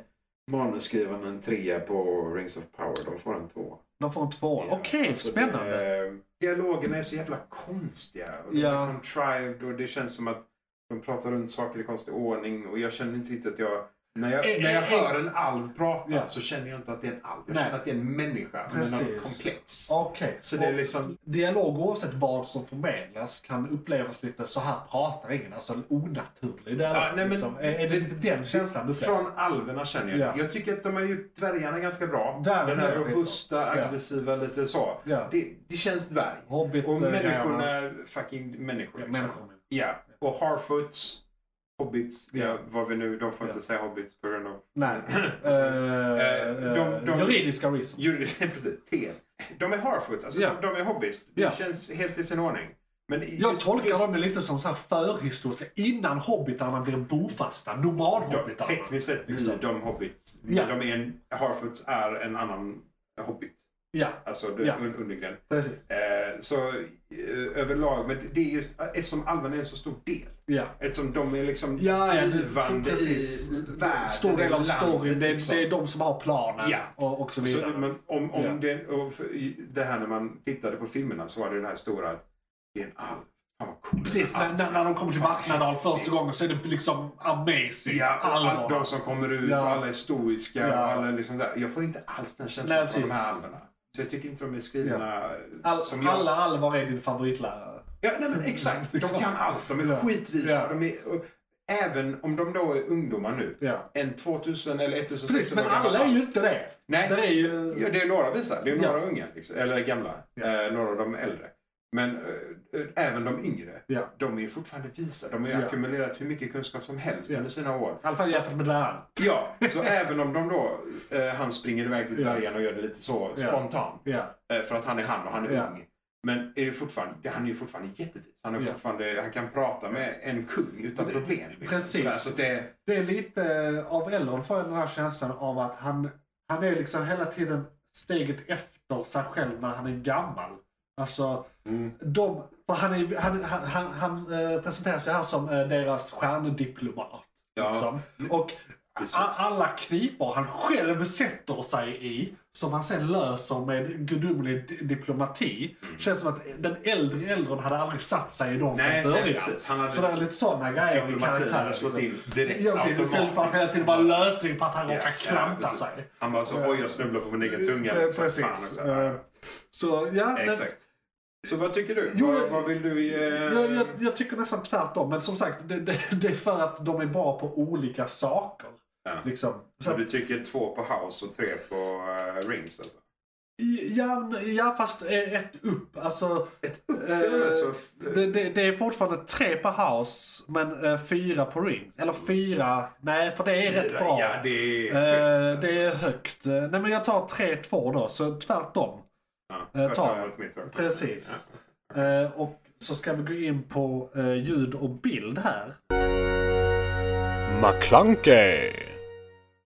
manusskrivarna en trea på Rings of Power. De får en två. de får en tvåa. Okej, Alltså, spännande. Det, dialogerna är så jävla konstiga. Och de Ja. är contrived och det känns som att de pratar runt saker i konstig ordning. Och jag känner inte riktigt att jag... När jag, Eh, när jag eh, hör en alv prata Ja. så känner jag inte att det är en alv. Jag Nej. känner att det är en människa. Men Precis. något komplex. Okej. Så det är Och liksom... Dialog oavsett vad som förmedlas kan upplevas lite så här pratar ingen. Alltså en onaturlig dialog. Ja, nej, men- liksom. är, är det lite den känslan du upplever? Från alverna känner jag. Ja. Jag tycker att de har gjort dvärgarna ganska bra. Där Den är här det robusta, bra. Ja. aggressiva, lite så. Ja. Det, det känns dvärg. Hobbit... Och eh, människorna grejerna. är fucking människor. Ja, liksom. människor. Ja. Och harfoots, hobbits, ja. Ja. vad vi nu, de får Ja. inte säga hobbits på grund av... [LAUGHS] Nej. Eh, eh, de- de- juridiska reasons. [LAUGHS] Jury- precis, T. De är harfoots, alltså Ja. de, de är hobbits. Det Ja. känns helt i sin ordning. Men i- Jag just- tolkar just- dem ju lite som så här förhistoria innan hobbitarna blir bofasta, de, nomadhobbitarna. Tekniskt sett blir Liksom. de hobbits. Ja. De är en, harfoots är en annan hobbit. Ja, Alltså det- Ja. un, undergren. precis. Eh, så eh, överlag, men det är just eh, eftersom alverna är en så stor del. Ja. Eftersom de är liksom Ja, ja, så drivande precis. i världen. Stor del av i landet, storyn, det, liksom. det är de som har planen Ja. och, och så Så, vidare. men om, om Ja. det, och för, i- det här när man tittade på filmerna så var det den här stora att det är en alv. Fan vad cool. Precis, den här när, när, när de kommer till Fan, Vattnadal häftigt. första gången så är det liksom amazing. Ja, och alla Allvar. de som kommer ut, Ja. och alla är stoiska. Ja. Och alla är liksom där. Jag får inte alls den känslan Nej, från de här precis. alverna. Så jag tycker inte de är skrivna All, som jag. alla Alvar är din favoritlärare. Ja, nej, men exakt. De kan allt. De är Liksom. Ja. skitvisa. Ja. De är, och, även om de då är ungdomar nu. Ja. En 2000 eller 1600 Precis, men alla är ju inte det. Nej. Det är ju... Ja, det är några visa. Det är Ja. några unga, liksom, eller gamla. Ja. Eh, några av de äldre. Men eh, eh, även de yngre, Ja. de är ju fortfarande visa. De har ju Ja. ackumulerat hur mycket kunskap som helst Ja. under sina år. I alla fall jämfört med läraren. Ja, [LAUGHS] så även om de då, eh, han springer iväg till Ja. dvärgen och gör det lite så spontant. Ja. Eh, för att han är han och han är Ja. ung. Men är ju fortfarande, han är ju fortfarande jättevis. Han, är Ja. fortfarande, han kan prata med en kung utan Det- problem. Liksom. precis. Sådär, så det, Det är lite eh, av Elrond får jag den här känslan av att han, han är liksom hela tiden steget efter sig själv när han är gammal. Alltså, de, för han, är, han, han, han, han eh, presenterar sig här som eh, deras stjärndiplomat. ja, Mm. Liksom. Och precis. a- alla knipor han själv sätter sig i, som han sen löser med gudomlig di- diplomati. Mm. Känns som att den äldre Elrond hade aldrig satt sig i dem nej, från nej, början. precis. Han hade Så det är lite sådana grejer i diplomatin karaktären. hade slått liksom. in direkt Ja, precis. Istället för att hela tiden vara lösning på att han Ja, råkar ja, klanta precis. sig. Han bara så, oj jag snubblar på min egen tunga. Eh, Så, fan, Precis. så här. Eh, Så ja, men, Exakt. Så vad tycker du? Jo, vad, jag- vad vill du... Eh... jag, jag, jag tycker nästan tvärtom. Men som sagt, det, det, det är för att de är bra på olika saker. Ja. Liksom. Så Så att, du tycker två på house och tre på eh, rings alltså? ja, ja, fast eh, ett upp. Alltså, Ett upp eh, till och med så... det, det, det är fortfarande tre på house, men eh, fyra på rings. Eller fyra, nej för det är rätt bra. Ja, det är... alltså. Eh, det är högt. Eh, Nej men jag tar 3-2 då, så tvärtom. ja, eh, tar- tvärtom mot mitt lag. Precis. Ja. Eh, och så ska vi gå in på eh, ljud och bild här. McClunkey,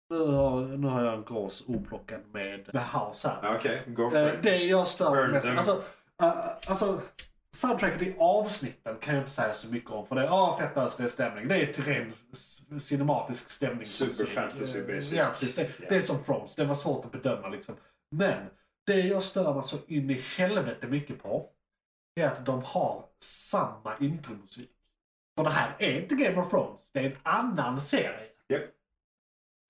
Nu har, nu har jag en grås oplockad med The House här. Ja, Okej, go for Eh, it. det jag stör Burn mest them. alltså, eh, alltså soundtracket i avsnitten kan jag inte säga så mycket om. För det är ah fett löst, det är stämning. Det är till ren s- cinematisk stämning. Super musik. fantasy, Eh, basic. Ja, precis. Det, det är som Thrones. Det var svårt att bedöma liksom. Men det jag stör mig så in i helvete mycket på är att de har samma intromusik. För det här är inte Game of Thrones. Det är en annan serie. Japp.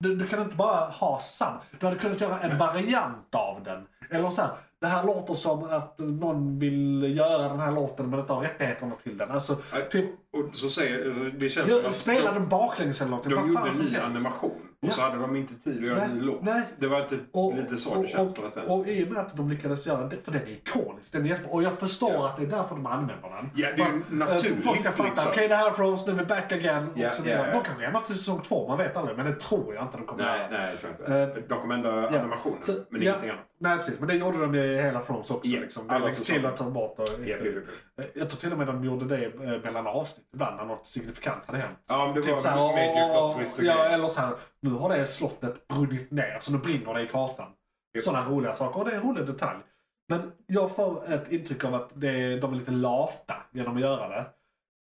Du, du kan inte bara ha samma. Du hade kunnat göra en variant av den. Eller så här, det här låter som att någon vill göra den här låten men inte har rättigheterna till den. Alltså, Ja, typ, Och så säger... alltså, Det känns som jag, att spela de, den baklänges eller något. de, Vad fan gjorde en som ny helst. animation och så Ja. hade de inte tid att göra en ny Nej, låt. nej. Det var typ Och, lite så det och, känns och, på något och, vänster. i och med att de lyckades göra den, för den är ikonisk, den är jättebra. Och jag förstår Ja. att det är därför de använder den. Ja, det är ju För att, eh, naturligt, Folk ska fatta, liksom. okej det här är Frost, nu är vi back again. Ja, och så ja, vidare. ja. De kanske lämnar till säsong två, man vet aldrig. Men det tror jag inte de kommer Nej, göra. nej, jag tror inte. de kommer ändra animationen, Eh, Så, men ja. ingenting annat. Nej precis, men det gjorde de ju i hela Thrones också. Ja, Liksom. alla Det läggs till säsonger. att ta bort och Ja, det- det- Jag tror till och med de gjorde det eh, mellan avsnitt ibland när något signifikant hade hänt. Ja, om det var såhär, major "Åh, plot twist och Ja, grejer." eller så här, nu har det slottet brunnit ner så nu brinner det i kartan. Ja. Sådana roliga saker. Och det är en rolig detalj. Men jag får ett intryck av att det, är- de är lite lata genom att göra det.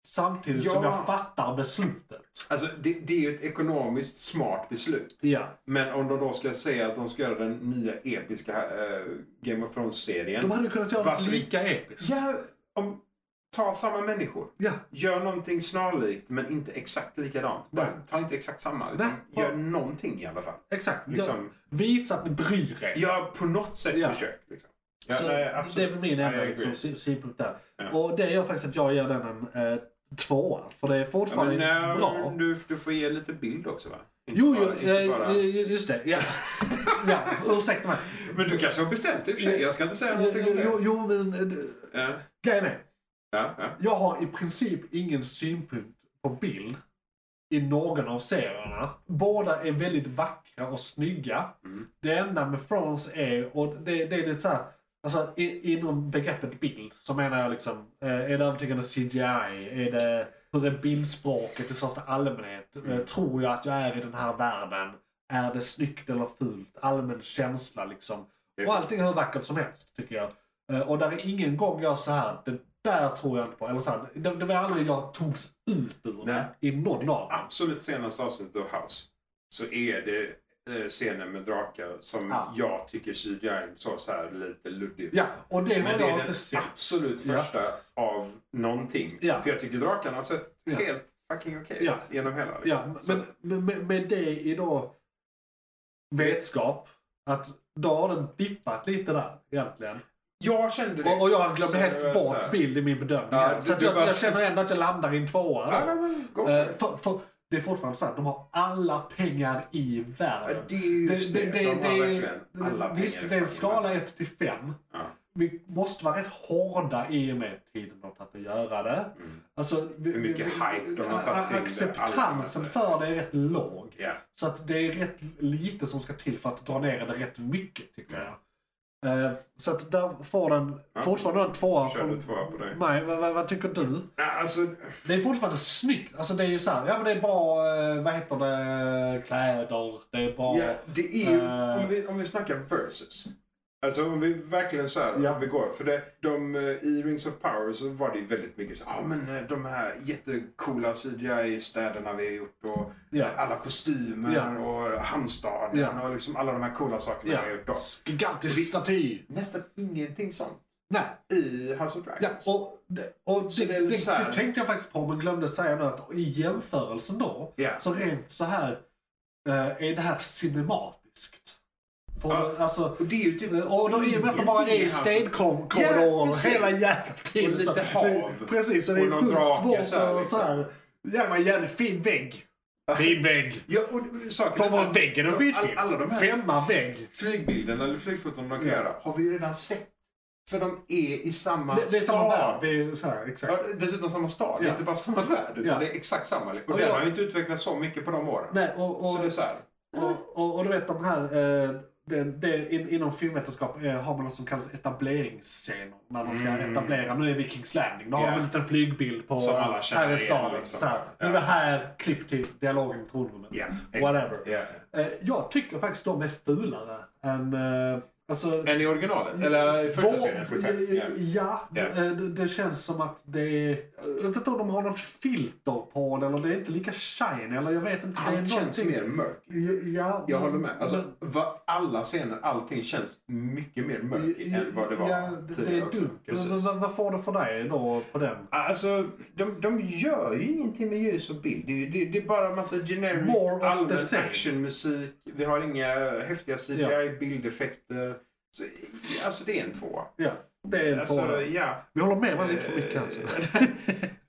Samtidigt som Ja. jag fattar beslutet. Alltså, det, det är ju ett ekonomiskt smart beslut. Ja, Men om de då ska säga att de ska göra den nya episka eh, Game of Thrones-serien. de hade ju kunnat göra Varför det lika episkt. Ja, om, ta samma människor. Ja. Gör någonting snarlikt men inte exakt likadant. Bara, Nej. ta inte exakt samma. Utan Nej. gör någonting i alla fall. Exakt. Liksom, Ja, visa att ni bryr er. ja, på något sätt Ja. försök. Liksom. Ja, så nej, det är absolut. väl min Ja, enda jag liksom, agree. sy- synpunkt där. Ja. Och det gör faktiskt att jag ger den en eh, tvåa. För det är Ja, fortfarande men, eh, bra. Du, du får ge lite bild också va? Inte Jo, bara- jo, inte eh, bara- eh, just det. [LAUGHS] Ja. ja, ursäkta mig. Men du kanske har bestämt dig i och för sig. Jag ska inte säga Jo, någonting om det. eh, jo, jo, men eh, Ja, grejen är. ja, ja. Jag har i princip ingen synpunkt på bild i någon av serierna. Båda är väldigt vackra och snygga. Mm. Det enda med Thrones är, och det, det är lite såhär, alltså i, inom begreppet bild så menar jag liksom, eh, är det övertygande CGI? Är det, hur är bildspråket i största allmänhet? Mm. Eh, tror jag att jag är i den här världen? Är det snyggt eller fult? Allmän känsla liksom. Och allting är hur vackert som helst, tycker jag. Eh, Och där är ingen gång jag så här, det där tror jag inte på. Eller så här, det, det var aldrig jag togs ut ur Nej. det i någon av dem. absolut senaste avsnittet av House så är det eh, scenen med drakar som Ja. jag tycker CGI så, så här lite luddigt. Ja, och det har Men det jag är inte den sett. absolut Ja. första av någonting. Ja. För jag tycker drakarna har sett Ja. helt fucking okej Ja. genom hela. liksom. Ja, Så- men men- med, med det i då vetskap att då har den dippat lite där egentligen. jag kände det. Och, och jag glömde Så det var helt så här- bort bild i min bedömning. Ja, så du- att du jag, bara- jag känner ändå att jag landar i en tvåa. Ja, då. nej, men go for Eh, it. för, för, det är fortfarande så här, de har alla pengar i Ja, världen. det är just Det, det. det, det, De har det, verkligen alla visst, pengar i det är en fucking världen. skala 1 till 5. Ja. vi måste vara rätt hårda i och med tiden de har tagit att göra det. Mm. Alltså, vi- Hur mycket vi- hype de har tagit till det allmänna, Acceptansen så. för det är rätt låg. Ja. Så att det är rätt lite som ska till för att dra ner det rätt mycket tycker Mm. jag. Eh, Så att där får den Ja. fortfarande en tvåa Kör från du tvåa på det? mig. Vad, vad, vad tycker du? Ja, Alltså, Det är fortfarande snyggt. Alltså det är ju så här, ja men det är bra, eh, vad heter det, kläder, det är bra. Ja, det är ju, Eh. om, vi, om vi snackar versus. Alltså om vi verkligen så här, Ja. vi går. För det, de, eh, i Rings of Power så var det ju väldigt mycket så ah, men eh, de här jättecoola CGI-städerna vi har gjort och Ja. alla kostymer Ja. och handstaden Ja. och liksom alla de här coola sakerna Ja. vi har gjort då. Gigantisk staty. Nästan ingenting sånt Nej. i House of Ja, Dragons. och det, och det, Så det det, är lite så det, här- tänkte jag faktiskt på men glömde säga nu att i jämförelsen då, Ja. så rent så här eh, är det här cinematiskt. För, Ja. alltså, Och det är ju typ och då i och med att de bara är i ingenting här som- Ja, stenkorridorer precis. hela jävla tiden. Och lite så, det- hav. Precis, så det Och är någon sjukt drake svårt så här, att liksom. så här, jävla jävligt fin vägg. Fin vägg. Ja, och, och saker, För att vara väggen och skitfin. alla de här Femma vägg. flygbilden eller flygfoton de kan Ja. göra har vi ju redan sett. För de är i samma Det, det är samma stad. värld. Det är så här, exakt. Ja, dessutom samma stad, Ja. inte bara samma värld. Utan Ja. det är exakt samma. Och, Och den jag- har ju inte utvecklats så mycket på de åren. Nej, och, och, så det är så här. Och, och, och du vet de här, eh, det, det, in, inom filmvetenskap eh, har man något som kallas etableringsscener. När de ska Mm. etablera, nu är vi i Kings Landing, då har Ja. de en liten flygbild på, Som alla känner här är igen, staden. liksom. Så här, Nu är Ja. vi här, klipp till dialogen i tronrummet. Ja, Whatever. Ja. Eh, jag tycker faktiskt de är fulare än... Eh, alltså, Eller i originalet. Eller i första Vår- serien, ska vi säga. Ja. Ja, Ja. eh, Det, det känns som att det är... Jag vet inte om de har något filter på det, eller det är inte lika shiny, eller jag vet inte. det är Allt känns någonting- mer mörkt. Ja, Jag men- håller med. Alltså, vad alla scener, allting känns mycket mer mörkt än vad det var ja, det, det tidigare är också. dumt. Precis. Men Vad, vad får det för dig då på den? Alltså, de, de gör ju ingenting med ljus och bild. Det, är ju- det, det är bara en massa generic More of the allmän same. actionmusik. Vi har inga häftiga CGI-bildeffekter. Så, alltså, det är en tvåa. Ja, det är på Alltså, ja. Vi håller med varandra lite för mycket alltså. kanske. Eh,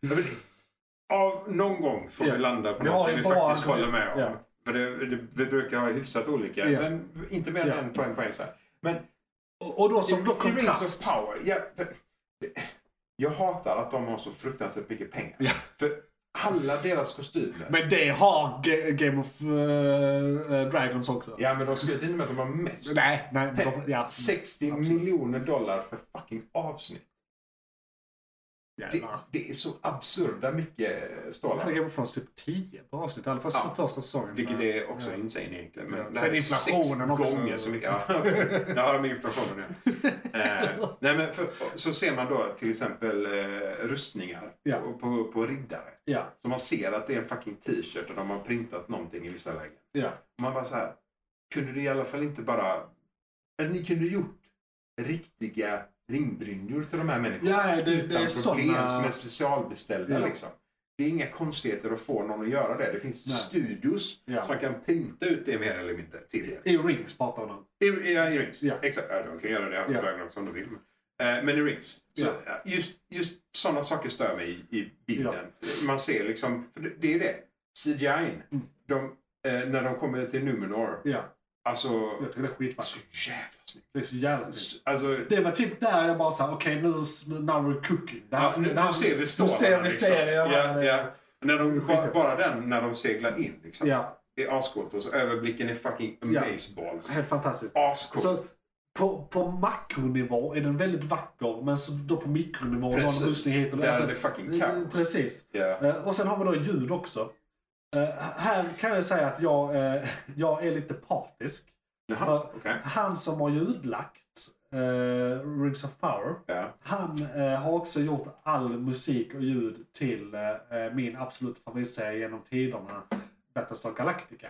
Ja, men Av någon gång får Ja. vi landa på Vi har något ju vi bara- faktiskt håller med om. Ja. För det, det, vi brukar ha hyfsat olika, Ja. men inte mer än Ja. en poäng på en så här. Men [LAUGHS] Och, och då som då i Rings kontrast. of Power. Ja, för- jag hatar att de har så fruktansvärt mycket pengar. Ja. För alla deras kostymer. Men det har Ga- Game of eh, eh, Dragons också. Ja, men de skryter inte med att de har mest. Nej, nej. De, ja. 60 Absolut. miljoner dollar per fucking avsnitt. Det, Jävlar. det är så absurda mycket Jag hade stålar. Game of Thrones typ 10 på avsnitt, i alla fall Ja. för första säsongen. Vilket är också Ja. insane egentligen. Ja. Men Sen det är sex inflationen också. gånger så mycket. [LAUGHS] Ja, [LAUGHS] där har de inflationen ja. Eh, nej, men för, så ser man då till exempel eh, rustningar Ja. på, på, på riddare. Ja, Så man ser att det är en fucking t-shirt och de har printat någonting i vissa lägen. ja. Och man bara så här. Kunde du i alla fall inte bara... Att ni kunde gjort riktiga ringbrynjor till de här människorna. Ja, det, det utan är problem som är sådana... specialbeställda Ja. liksom. Det är inga konstigheter att få någon att göra det. Det finns Nej. studios Ja. som kan printa ut det mer eller mindre till er. I Rings pratar man om. I, i, i Rings. Ja. Exakt. Ja, de kan göra det i House Ja. of Dragons om de vill. Men, eh, men i Rings. Så, Ja. eh, just, just sådana saker stör mig i, i bilden. Man ser liksom, för det, det är ju det. CGI. Mm. De, eh, när de kommer till Numenor. Ja, Alltså, jag tycker det är skitvackert. så jävla snyggt. Det är så jävla snyggt. S- Alltså, Det var typ där jag bara sa, okej nu, nu now we're cooking. Det här- ja, alltså nu, det här- nu ser vi Nu stålarna. ser vi liksom. serien. Ja, ja. När de, bara, Skithäftigt. bara den när de seglar in. Liksom. ja, Det är ascoolt. Och så överblicken är fucking Ja. amazeballs. helt fantastiskt. Ascoolt. Så på, på makronivå är den väldigt vacker, men så då på mikronivå har den Precis. rustigheten. Där Alltså, är det fucking kaos. Precis. Ja. Eh, Och sen har vi då ljud också. Eh, Här kan jag säga att jag, eh, [LAUGHS] jag är lite partisk. Jaha, För- Ah, okej. Han som har ljudlagt eh, Rings of Power, Ja. han eh, har också gjort all musik och ljud till eh, eh, min absoluta favoritserie genom tiderna, Battlestar Galactica.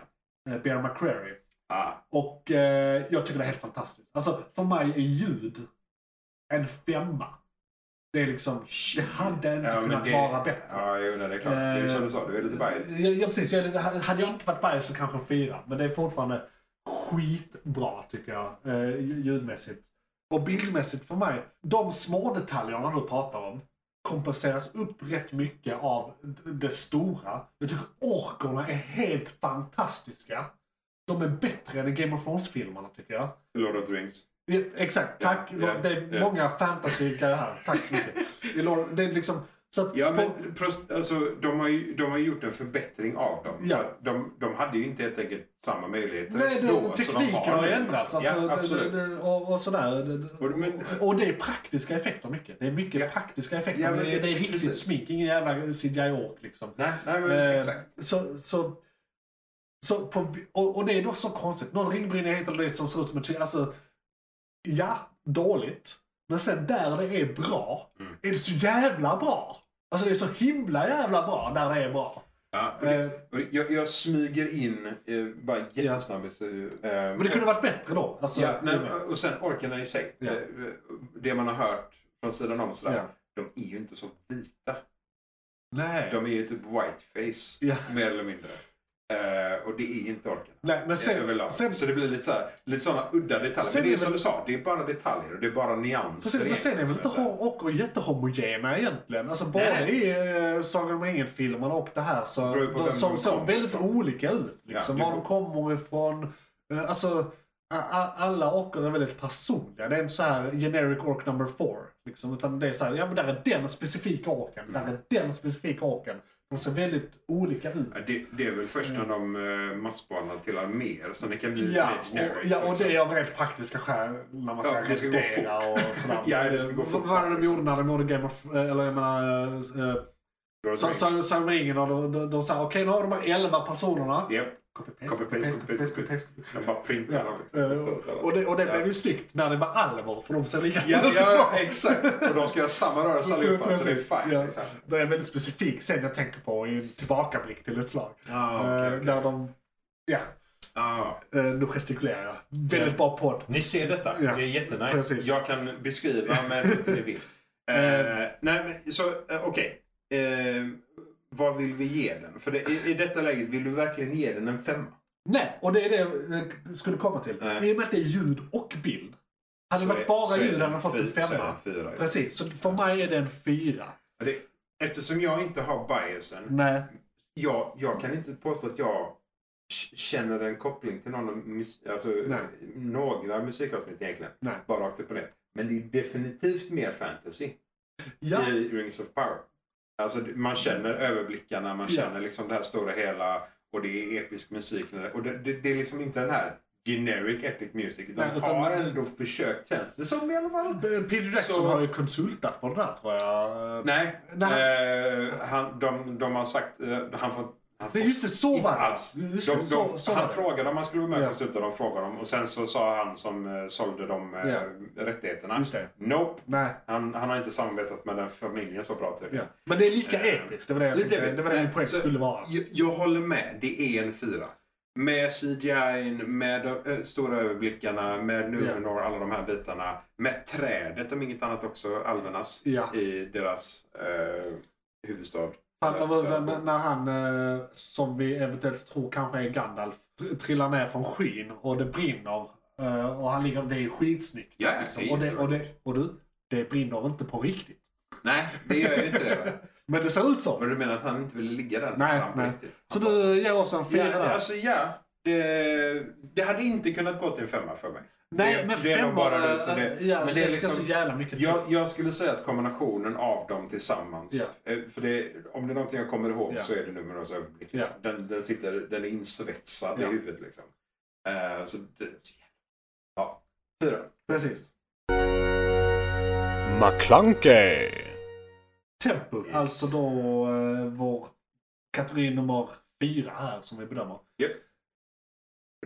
Eh, Bear McCreary. Ah. Och eh, jag tycker det är helt fantastiskt. Alltså för mig är ljud en femma. Det är liksom, det hade inte Ja, men kunnat det, vara bättre. Ja, jo, nej, det är klart. Det är som du sa, du är lite biased. Ja, ja precis. Jag, hade jag inte varit biased så kanske en fyra. Men det är fortfarande skitbra tycker jag. Eh, ljudmässigt. Och bildmässigt för mig. De små detaljerna du pratar om kompenseras upp rätt mycket av d- det stora. Jag tycker orkorna är helt fantastiska. De är bättre än i Game of Thrones-filmerna tycker jag. Lord of the Rings. Ja, Exakt, tack. Ja, ja, det är ja. många fantasy-grejer här. Tack så [LAUGHS] mycket. I Lord- Det är liksom... Så att Ja, på- men prost, alltså, de, har ju, de har gjort en förbättring av dem. Ja. För att De, de hade ju inte helt enkelt samma möjligheter Nej, det, då som de tekniken nu, har ju liksom. ändrats. Alltså, ja, det, absolut. det, det, och, och sådär. Det- det- Och- men- och det är praktiska effekter mycket. Det är mycket Ja. praktiska effekter. Ja, men det, det det- är riktigt precis. smink, ingen jävla CGI-ork liksom. Nej, nej, men Eh, exakt. Så, så, så på, och, och det är då så konstigt. Någon ringbrynja heter det som ser ut som ett... Alltså, ja, dåligt. Men sen där det är bra, Mm. är det så jävla bra. Alltså det är så himla jävla bra där det är bra. Ja, och det, Eh, och det- jag, jag smyger in eh, bara jättesnabbt. eh, eh, men det kunde varit bättre då. Alltså, ja, nej, det med. och sen orkarna i sig. Ja. eh, Det man har hört från sidan om sådär. Ja. De är ju inte så vita. nej. De är ju typ whiteface, Ja. mer eller mindre. Eh, och det är inte orkarna. nej men Sen, sen, överlag. sen, så det blir lite, så här, lite sådana udda detaljer. Sen Men är det är som väl- du sa, det är bara detaljer och det är bara nyanser. Precis, men sen är väl egentligen, inte så här. ho- och jättehomogena egentligen. Alltså både Nej. i eh, Sagan om ringen-filmerna och det här så Det beror ju på de vem såg de så kommer väldigt ifrån. olika ut. Liksom, Ja, det var de beror- kommer ifrån. Eh, Alltså, a- a- alla orker är väldigt personliga. Det är inte så här generic ork number four. Liksom, utan det är så här, ja men där är den specifika orken. Där är Mm. den specifika orken. De ser väldigt olika ut. Ja, det, det är väl först när de uh, massbanar till arméer som det kan bli Mm. Ja, mer generic, och, ja, och liksom. det är av rent praktiska skäl. När man Ja, ska det ska gå revidera och sådär. [LAUGHS] eh, Ja, det ska gå fort. Vad var det de gjorde när de gjorde Game of... Eller jag menar... eh, Lord of the Så, Rings. så, så ringer de och de, de säger okej nu har de här 11 personerna. Japp. Copy-paste, Copy-paste, copy-paste, copy-paste, copy-paste, copy-paste. De bara printar dem. liksom. Ja, eh, och- Och det, och det blev ju snyggt när det var Alvor för de ser lika Ja, ja, exakt. Och de ska göra samma [LAUGHS] rörelse allihopa, så det är Precis, fine. ja. Liksom. Det är en väldigt specifik scen jag tänker på i en tillbakablick till ett slag. Ah, Eh, Där de, ja, eh, nu gestikulerar jag. Väldigt Ja. bra podd. Ni ser detta. Ja, Det är jättenice. precis. Jag kan beskriva [LAUGHS] men inte ni vill. Eh, nej, men så eh, okej. Eh, vad vill vi ge den? För det, i, i detta läget, vill du verkligen ge den en femma? Nej, och det är det jag skulle komma till. Nej. I och med att det är ljud och bild. Hade det Så varit är- bara så är ljud den hade man fått en fy- så är femma. den fyra, just. Precis, så för mig är det en fyra. Det, eftersom jag inte har biasen. Nej. Jag, jag kan inte påstå att jag k- känner en koppling till någon, av mus, alltså, Nej. några musikavsnitt egentligen. Nej. Bara rakt upp och ner. Men det är definitivt mer fantasy. Ja, Mm. i Rings of Power. Alltså, man känner överblickarna, man Ja. känner liksom det här stora hela och det är episk musik. när det- Och det, det, det är liksom inte den här generic epic music. Utan Nej, utan har man- ändå försökt, känns det som i alla fall. Peter Jackson Så- har ju konsultat på det där tror jag. Nej, Nej. Eh, han, de, de har sagt... eh, han får, han får Nej just det, så inte var det. alls. Just De, det, så, de, så var han det. frågade om han skulle vara med Ja. och konsulta, de frågade om. Och sen så sa han som eh, sålde de eh, Ja. rättigheterna. Just det. Nope, Nej. han, han har inte samarbetat med den familjen så bra typ. tydligen. Ja. Men det är lika Eh, episkt. Det var det jag lite tänkte. episkt. Det var det min Eh, poäng så- skulle vara. Jag, jag håller med. Det är en fyra. Med CGI, med de eh, stora överblickarna, med Numenor, alla de här bitarna. Med trädet om inget annat också, alvernas, Ja. i deras eh, huvudstad. Fan, vad var det när- när han, eh, som vi eventuellt tror kanske är Gandalf, tr- trillar ner från skyn och det brinner. eh, Och han ligger, det är skitsnyggt. liksom. Ja, det är Och, det, och, det, och du, det brinner inte på riktigt. Nej, det gör ju inte det. [LAUGHS] va? Men det ser ut Men så. du menar att han inte ville ligga där? Nej, Han på nej. riktigt. Så Han bara- du ger oss en fyra Alltså, Ja, där. alltså ja. Det, det hade inte kunnat gå till en femma för mig. Nej, det- men det är nog femmor, bara du, eh, så det- ja, men så det det är ska liksom- så jävla mycket till. Jag, jag skulle säga att kombinationen av dem tillsammans. Ja. eh, För det, om det är någonting jag kommer ihåg Ja. så är det Numeros överblick. Ja. Liksom. Den, den, sitter, den är insvetsad Ja. i huvudet. Liksom. Eh, så det, så, jävla- ja. Fyra. Precis. McClunkey, Tempo, Yes. alltså då eh, vår kategori nummer fyra här som vi bedömer.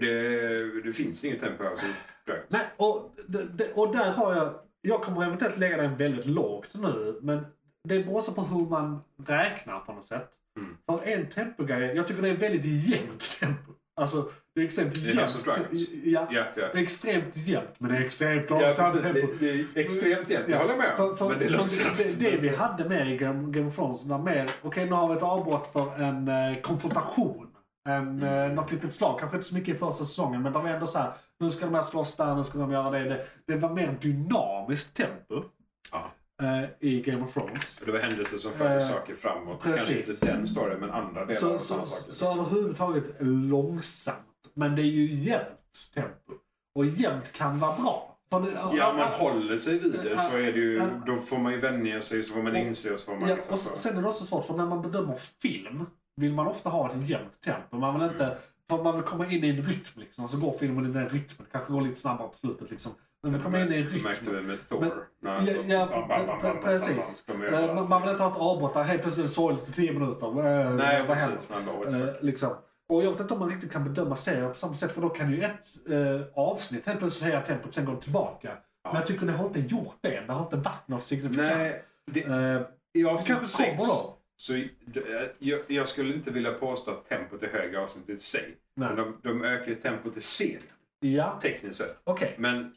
Det, det finns inget tempo alltså. här. Så, Nej, och, d- d- och där har jag... Jag kommer eventuellt lägga den väldigt lågt nu, men det beror också på hur man räknar på något sätt. Mm. För en tempogrej, jag tycker det är väldigt jämnt tempo. Alltså, det är extremt Det är House of jämnt. Dragons. ja, ja, ja. det är extremt jämnt, men det är extremt Ja, långsamt precis. tempo. det, det är extremt jämnt, jag håller med. För, om. för Men det är långsamt. Det, det vi hade med i Game, Game of Thrones var mer, okej nu har vi ett avbrott för en eh, konfrontation. En, Mm. eh, något litet slag, kanske inte så mycket i första säsongen men det var ändå så här, nu ska de här slåss där, nu ska de göra det. Det, det var mer dynamiskt tempo Ja. eh, i Game of Thrones. För det var händelser som förde Eh, saker framåt. Kanske precis. inte den storyn, men andra delar Så, av så, samma så, saker. liksom. så överhuvudtaget långsamt. Men det är ju jämnt tempo. Och jämnt kan vara bra. För det- Ja, om man håller sig vid det så är det ju, Ja. då får man ju vänja sig, så får man Och- inse och så får man Ja, liksom... och s- sen är det också svårt, för när man bedömer film vill man ofta ha ett jämnt tempo. Man Mm. vill inte, för man vill komma in i en rytm liksom, och så går filmen i den rytmen. Kanske går lite snabbare på slutet liksom. Men man kommer in i en Det märkte rytm. vi med Men- Thor. När Ja, han så- ja bam, bam, bam, pre- bam, pre- precis. bam, bam, de är Eh, Man, man vill överallt. inte ha ett avbrott där helt plötsligt är det sorgligt i tio minuter. Eh, Nej, vad händer? precis. Man bara, what the Eh, fuck. liksom. Och jag vet inte om man riktigt kan bedöma serier på samma sätt för då kan ju ett eh, avsnitt helt plötsligt höja tempot sen går det tillbaka. Ja. Men jag tycker det har inte gjort det än. Det har inte varit något signifikant. Nej, det, Eh, i det kanske avsnitt kommer sex då. så det- eh, jag, jag skulle inte vilja påstå att tempot är högre i avsnittet i sig. Men Nej. de, de ökar ju tempot i serien, Ja, tekniskt sett. okej. Men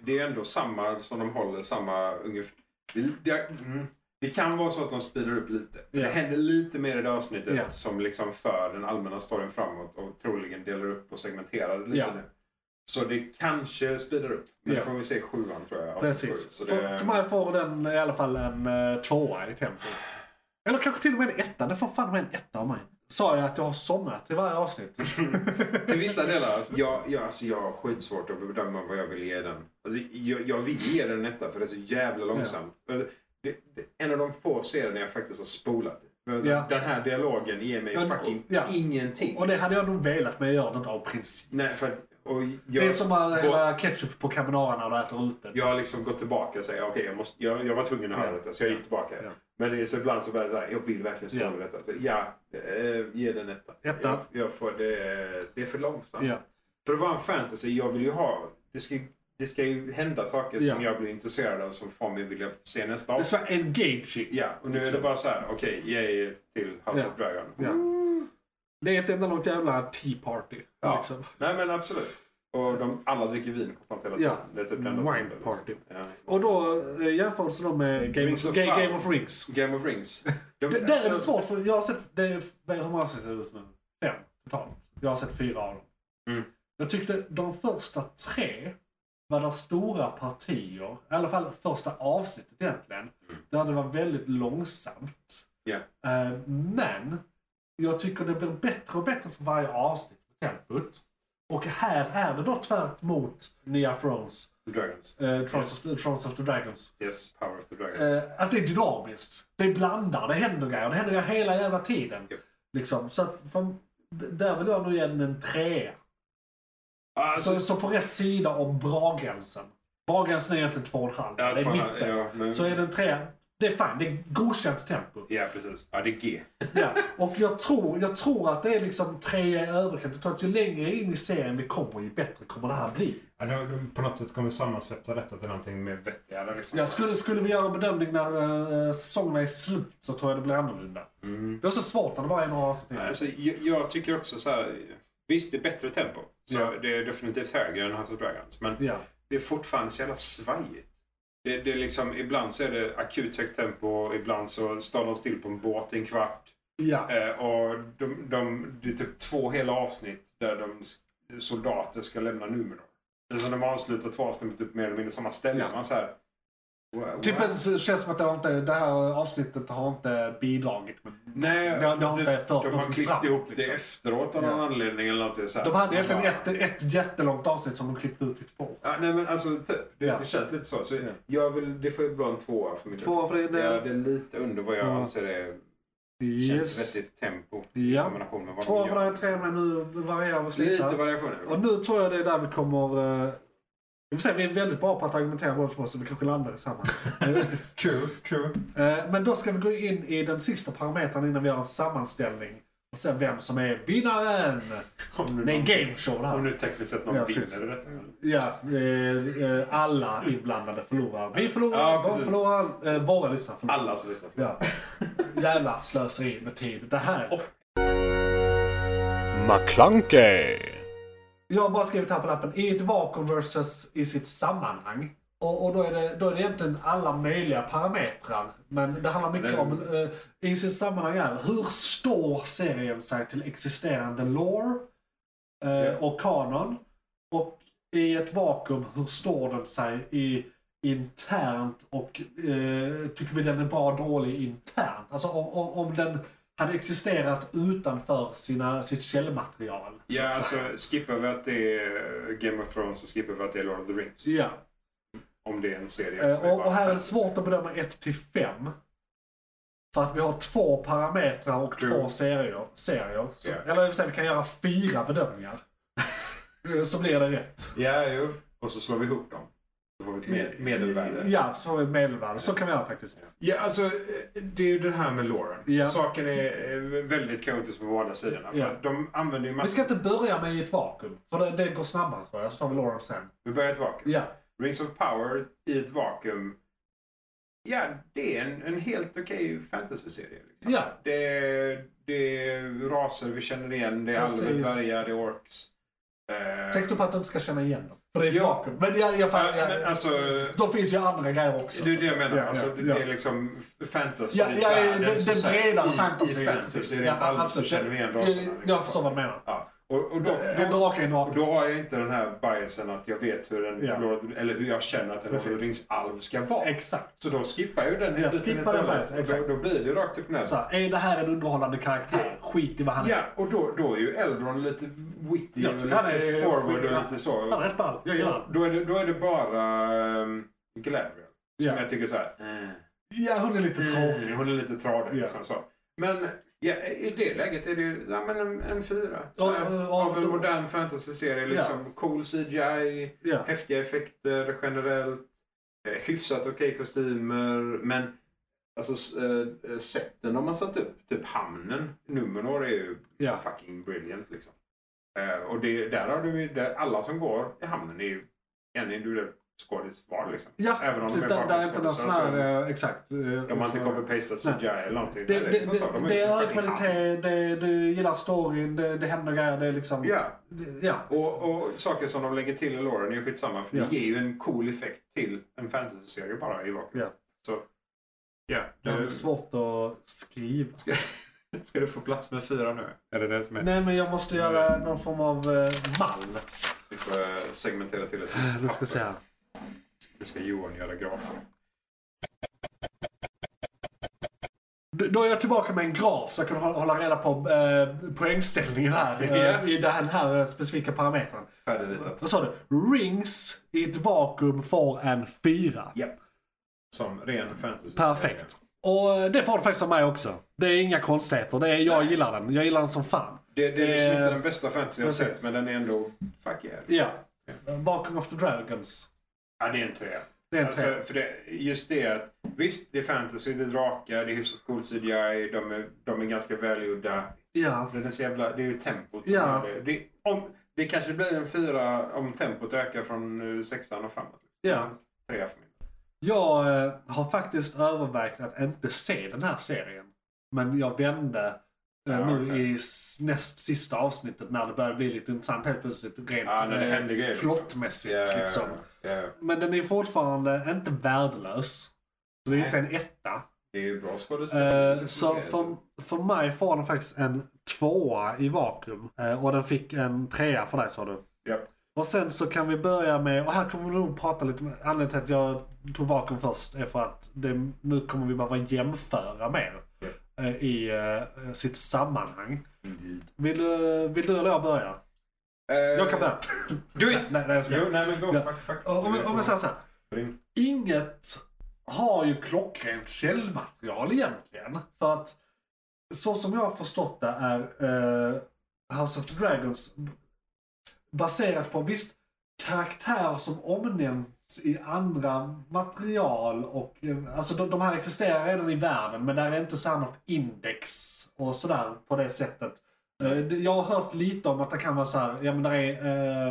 det är ändå samma som de håller, samma ungefär. Det, det, mm, det kan vara så att de speedar upp lite. Ja. Det händer lite mer i det avsnittet Ja. som liksom för den allmänna storyn framåt och troligen delar upp och segmenterar det lite Ja. nu. Så det kanske speedar upp. Men Ja. det får vi se sjuan tror jag. avsnitt sju. Precis. Så För, det, för mig får den i alla fall en eh, tvåa i tempo. Eller kanske till och med en etta. Den får fan med en etta av mig. Sa jag att jag har somnat i varje avsnitt? [LAUGHS] till vissa delar. Alltså, jag, jag, alltså, jag har skitsvårt att bedöma vad jag vill ge den. Alltså, jag, jag vill ge den en etta för det är så jävla långsamt. Alltså, det, det, en av de få serierna jag faktiskt har spolat. Men Alltså, Ja. Den här dialogen ger mig Ja, och- fucking ja. ingenting. Och det hade jag nog velat, men jag gör det inte av princip. Nej, för, att- och jag, Det är som att gå- hälla ketchup på carbonara när du äter ute. jag har liksom gått tillbaka och säger okej, jag, måste- jag, jag var tvungen att höra Ja. detta så jag gick tillbaka. Ja. Men det är så ibland så bara så här, jag vill verkligen spola Ja. detta. Så, ja, eh, ge den etta. Etta. Jag, jag får, det, det är för långsamt. Ja. För att vara en fantasy, jag vill ju ha... Det ska, det ska ju hända saker Ja. som jag blir intresserad av som får mig vilja se nästa Det avsnitt. ska vara engaging. Ja, och nu är det bara så här, okej, yay till House Ja. of Dragon. Ja. Det är ett enda långt jävla tea party. Ja. Liksom. Nej men absolut. Och de, alla dricker vin konstant hela tiden. Ja. Det är typ det enda som Wine händer. party. Ja. Och då eh, jämförelsen då med Game, Rings of, of Ga- Power. Game of Rings. Game [LAUGHS] of Rings. Jag- Det, där är det alltså- svårt, för jag har sett... Det är, hur många avsnitt är det ut nu? Fem totalt. Jag har sett fyra av dem. Mm. Jag tyckte de första tre var det stora partier, i alla fall första avsnittet egentligen, där det var väldigt långsamt. Mm. Ja. Eh, men jag tycker det blir bättre och bättre för varje avsnitt på tempot. Och här är det då tvärt mot Nya Thrones, Dragons. eh, Thrones, of, Thrones of the Dragons. Yes, Power of the Dragons. Eh, att det är dynamiskt. Det blandar, det händer grejer. Det händer grejer hela jävla tiden. Ja. Liksom. Så att, för, där vill jag nog ge den en trea. alltså, så, så på rätt sida om bra-gränsen. Bra-gränsen är egentligen två och en halv. ja, det är fan, mitten. ja, men, Så är den trea. Det är fine, det är godkänt tempo. ja, precis. Ja, det är G. Ja. Och jag tror, jag tror att det är liksom trea i överkant. Jag tror att ju längre in i serien vi kommer, ju bättre kommer det här bli. Ja, de, de på något sätt kommer sammansvetsa detta till någonting mer vettigare. Liksom. Jag skulle, skulle vi göra en bedömning när eh, säsongerna är slut så tror jag det blir annorlunda. Mm. Det är så svårt när det bara är några avsnitt. Nej, Alltså, jag, jag tycker också så här. Visst, det är bättre tempo. Så Ja. Mm. Det är definitivt högre än House of Dragons. Men Ja. det är fortfarande så jävla svajigt. Det, det är liksom, ibland så är det akut högt tempo. Ibland så står de still på en båt i en kvart. Ja. Eh, och de, de, det är typ två hela avsnitt där de s- soldater ska lämna nummer. Alltså, de avslutar två avsnitt typ mer eller mindre samma ställe. Ja. Man så här, "Wha- Typ what?" en, så känns som att det, har inte, det här avsnittet har inte bidragit. Men Nej, det har- det har inte fört de har någonting klippt framåt, ihop det liksom. efteråt av någon Ja. anledning. Eller någonting, så här. de hade Man egentligen bara- ett, ett jättelångt avsnitt som de klippte ut till två. Ja, nej men alltså typ. Det, Ja. det känns lite så. så jag vill, det får ju bra en tvåa för mitt Tvåa för det, det, det- ja, det är lite under vad jag Ja. anser är känns Yes. vettigt tempo. I Ja. kombination med vad Två de för gör. dig, tre men nu varierar vi Lite lite. variationer. Och nu tror jag det är där vi kommer... eh, Vi får se, vi är väldigt bra på att argumentera båda två så vi kanske landar i [LAUGHS] samma. True, true. Eh, men då ska vi gå in i den sista parametern innan vi gör en sammanställning. Och se vem som är vinnaren! Om nu, Det är en gameshow det om här. nu tekniskt sett någon Ja, precis. vinner detta. Ja, eh, eh, alla inblandade förlorar. Vi förlorar, Ja, de precis. förlorar, eh, våra lyssnare förlorar. Alla som lyssnar. Ja. Jävla slöseri med tid. Det här. McClunkey. Jag har bara skrivit här på lappen, i ett vakuum versus i sitt sammanhang. Och, och då, är det, då är det egentligen alla möjliga parametrar. Men det handlar mycket Men- om, eh, i sitt sammanhang är, hur står serien sig till existerande lore eh, Ja. och kanon? Och i ett vakuum, hur står den sig i internt och eh, tycker vi den är bra dålig internt? Alltså om, om, om den hade existerat utanför sina, sitt källmaterial. så Ja, att alltså säga. skippar vi att det är Game of Thrones så skippar vi att det är Lord of the Rings. Ja, Om det är en serie. Eh, som är och, bara och här är det fantasy. svårt att bedöma 1 till 5. För att vi har två parametrar och True. två serier. serier. Så, Ja. Eller i och för sig, vi kan göra fyra [LAUGHS] bedömningar. Eh, så blir det rätt. Ja, jo. Och så slår vi ihop dem. Då får vi ett med, medelvärde. Ja, så får vi medelvärde. Så kan vi göra faktiskt. Ja, alltså eh, det är ju det här med Lauren. Ja. Saken är eh, väldigt kaotisk på båda sidorna. För Ja. att de använder ju Vi massor... ska inte börja med i ett vakuum. För det, det går snabbare tror jag. Så tar vi Lauren sen. Vi börjar i ett vakuum. Ja. Rings of Power i ett vakuum. Ja, det är en, en helt okej fantasyserie. Liksom. Ja. Det, det är raser vi känner igen. Det är Precis. alver, dvärgar, det är orks. Eh, Tänk då på att de inte ska känna igen dem. För det är ett Ja. vakuum. Men jag, jag, ja, jag, men alltså, de finns ju andra grejer också. det är det jag menar. Ja, alltså, ja, det, ja. det är liksom fantasy Ja, ja, den, världen, den så att säga, bredare i, fantasy. I fantasy precis. rent allmänt så absolut. känner vi igen Ja, raserna. liksom. Jag förstår vad du menar. Ja. Och, och då, En då, drake är en och drake. då har jag inte den här biasen att jag vet hur en Ja. Lord, eller hur jag känner att en Precis. Lord Rings alv ska vara. Exakt. Så då skippar jag ju den. Jag biten skippar helt och den hållet. biasen, Och exakt. Då, då blir det ju rakt upp och ner. Så här, är det här en underhållande karaktär? Skit i vad han är. Ja, och då, då är ju Eldron lite witty Jag och tycker han lite är- forward och lite så. Han är rätt ball. Jag gillar han. Då är det, då är det bara um, Galadriel. Som Ja. jag tycker så här. eh, Ja, hon är lite tråkig. tråkig. Hon är lite tradig. Ja. Liksom, så. Men ja, i det läget är det ju ja, men en, en fyra. Så Ja, här, ja, av en då- modern fantasy-serie. Liksom, Cool CGI, Ja. häftiga effekter generellt. eh, Hyfsat okej kostymer. Men alltså, s- eh, sätten de har satt upp, typ hamnen, Numenor är ju Ja. fucking brilliant. Liksom. Eh, och det, där har du ju, där, alla som går i hamnen är ju en individuell skådis var. Liksom. Ja, Även om precis. de är Där, där är inte någon sån bakgrundsskådisar, så- här... eh, Exakt. eh, de har inte så- copy-pastat Nej. CGI eller någonting. Det, det, är liksom så, det, de det ju är hög fucking hand. kvalitet, det, du gillar storyn, det, det händer grejer. Det är liksom... Ja, det- ja. och, och saker som de lägger till i loren är ju skitsamma för Ja. det ger ju en cool effekt till en fantasy-serie bara i vakuum. Ja. Så, ja. Det är Du, svårt att skriva. ska, [LAUGHS] ska du få plats med fyra nu? Är det det som är? Nej, men jag måste göra någon form av eh, mall. Vi får eh, segmentera till ett Nu ska vi se här. Nu ska Johan göra grafer. Då- Då är jag tillbaka med en graf så jag kan hå- hålla reda på eh, poängställningen här eh, Ja. i den här eh, specifika parametern. Färdigritat. Vad sa du? Rings i ett vakuum får en fyra. Ja. Som ren fantasy Perfekt. Och eh, det får du faktiskt av mig också. Det är inga konstigheter. Det är, jag gillar den. Jag gillar den som fan. Det, det är liksom inte Eh, den bästa fantasy jag har sett precis. men den är ändå fuck yeah. Ja. Vakuum Eh, of the Dragons. Ja, det är en trea. Det är en Alltså, trea. för det, just det att visst, det är fantasy, det är drakar, det är hyfsat cool CGI, de är, de är ganska välgjorda. Ja. Det är, så jävla, det är ju tempot som Ja. gör det. Det, om, det kanske blir en fyra om tempot ökar från eh, sexan och framåt. ja. Trea för mig. Jag eh, har faktiskt övervägt att inte se den här serien. Men jag vände eh, Ja, nu okej. i s- näst sista avsnittet när det började bli lite intressant helt plötsligt. Rent Ja, när det eh, händer grejer, liksom. plottmässigt. Ja, Liksom. ja, Men den är fortfarande inte värdelös. Så det är Nej. inte en etta. Det är ju bra skådespelare. Eh, så för, för mig får den faktiskt en tvåa i vakuum. Eh, och den fick en trea för dig sa du. Ja. Och sen så kan vi börja med, och här kommer vi nog prata lite om, anledningen till att jag tog vakuum först är för att det, nu kommer vi behöva jämföra mer eh, i eh, sitt sammanhang. Vill, du- vill du eller jag börja? Eh, Jag kan börja. Do [LAUGHS] it! nej, nej, jag ska. Jo, nej men go. Ja. Fuck, fuck. Om, om jag säger så här. Ring. Inget har ju klockrent källmaterial egentligen. För att så som jag har förstått det är eh, House of the Dragons baserat på visst karaktärer som omnämns i andra material och eh, alltså de, de här existerar redan i världen men där är inte så här något index och sådär på det sättet. Eh, det- jag har hört lite om att det kan vara så här, ja men där är eh,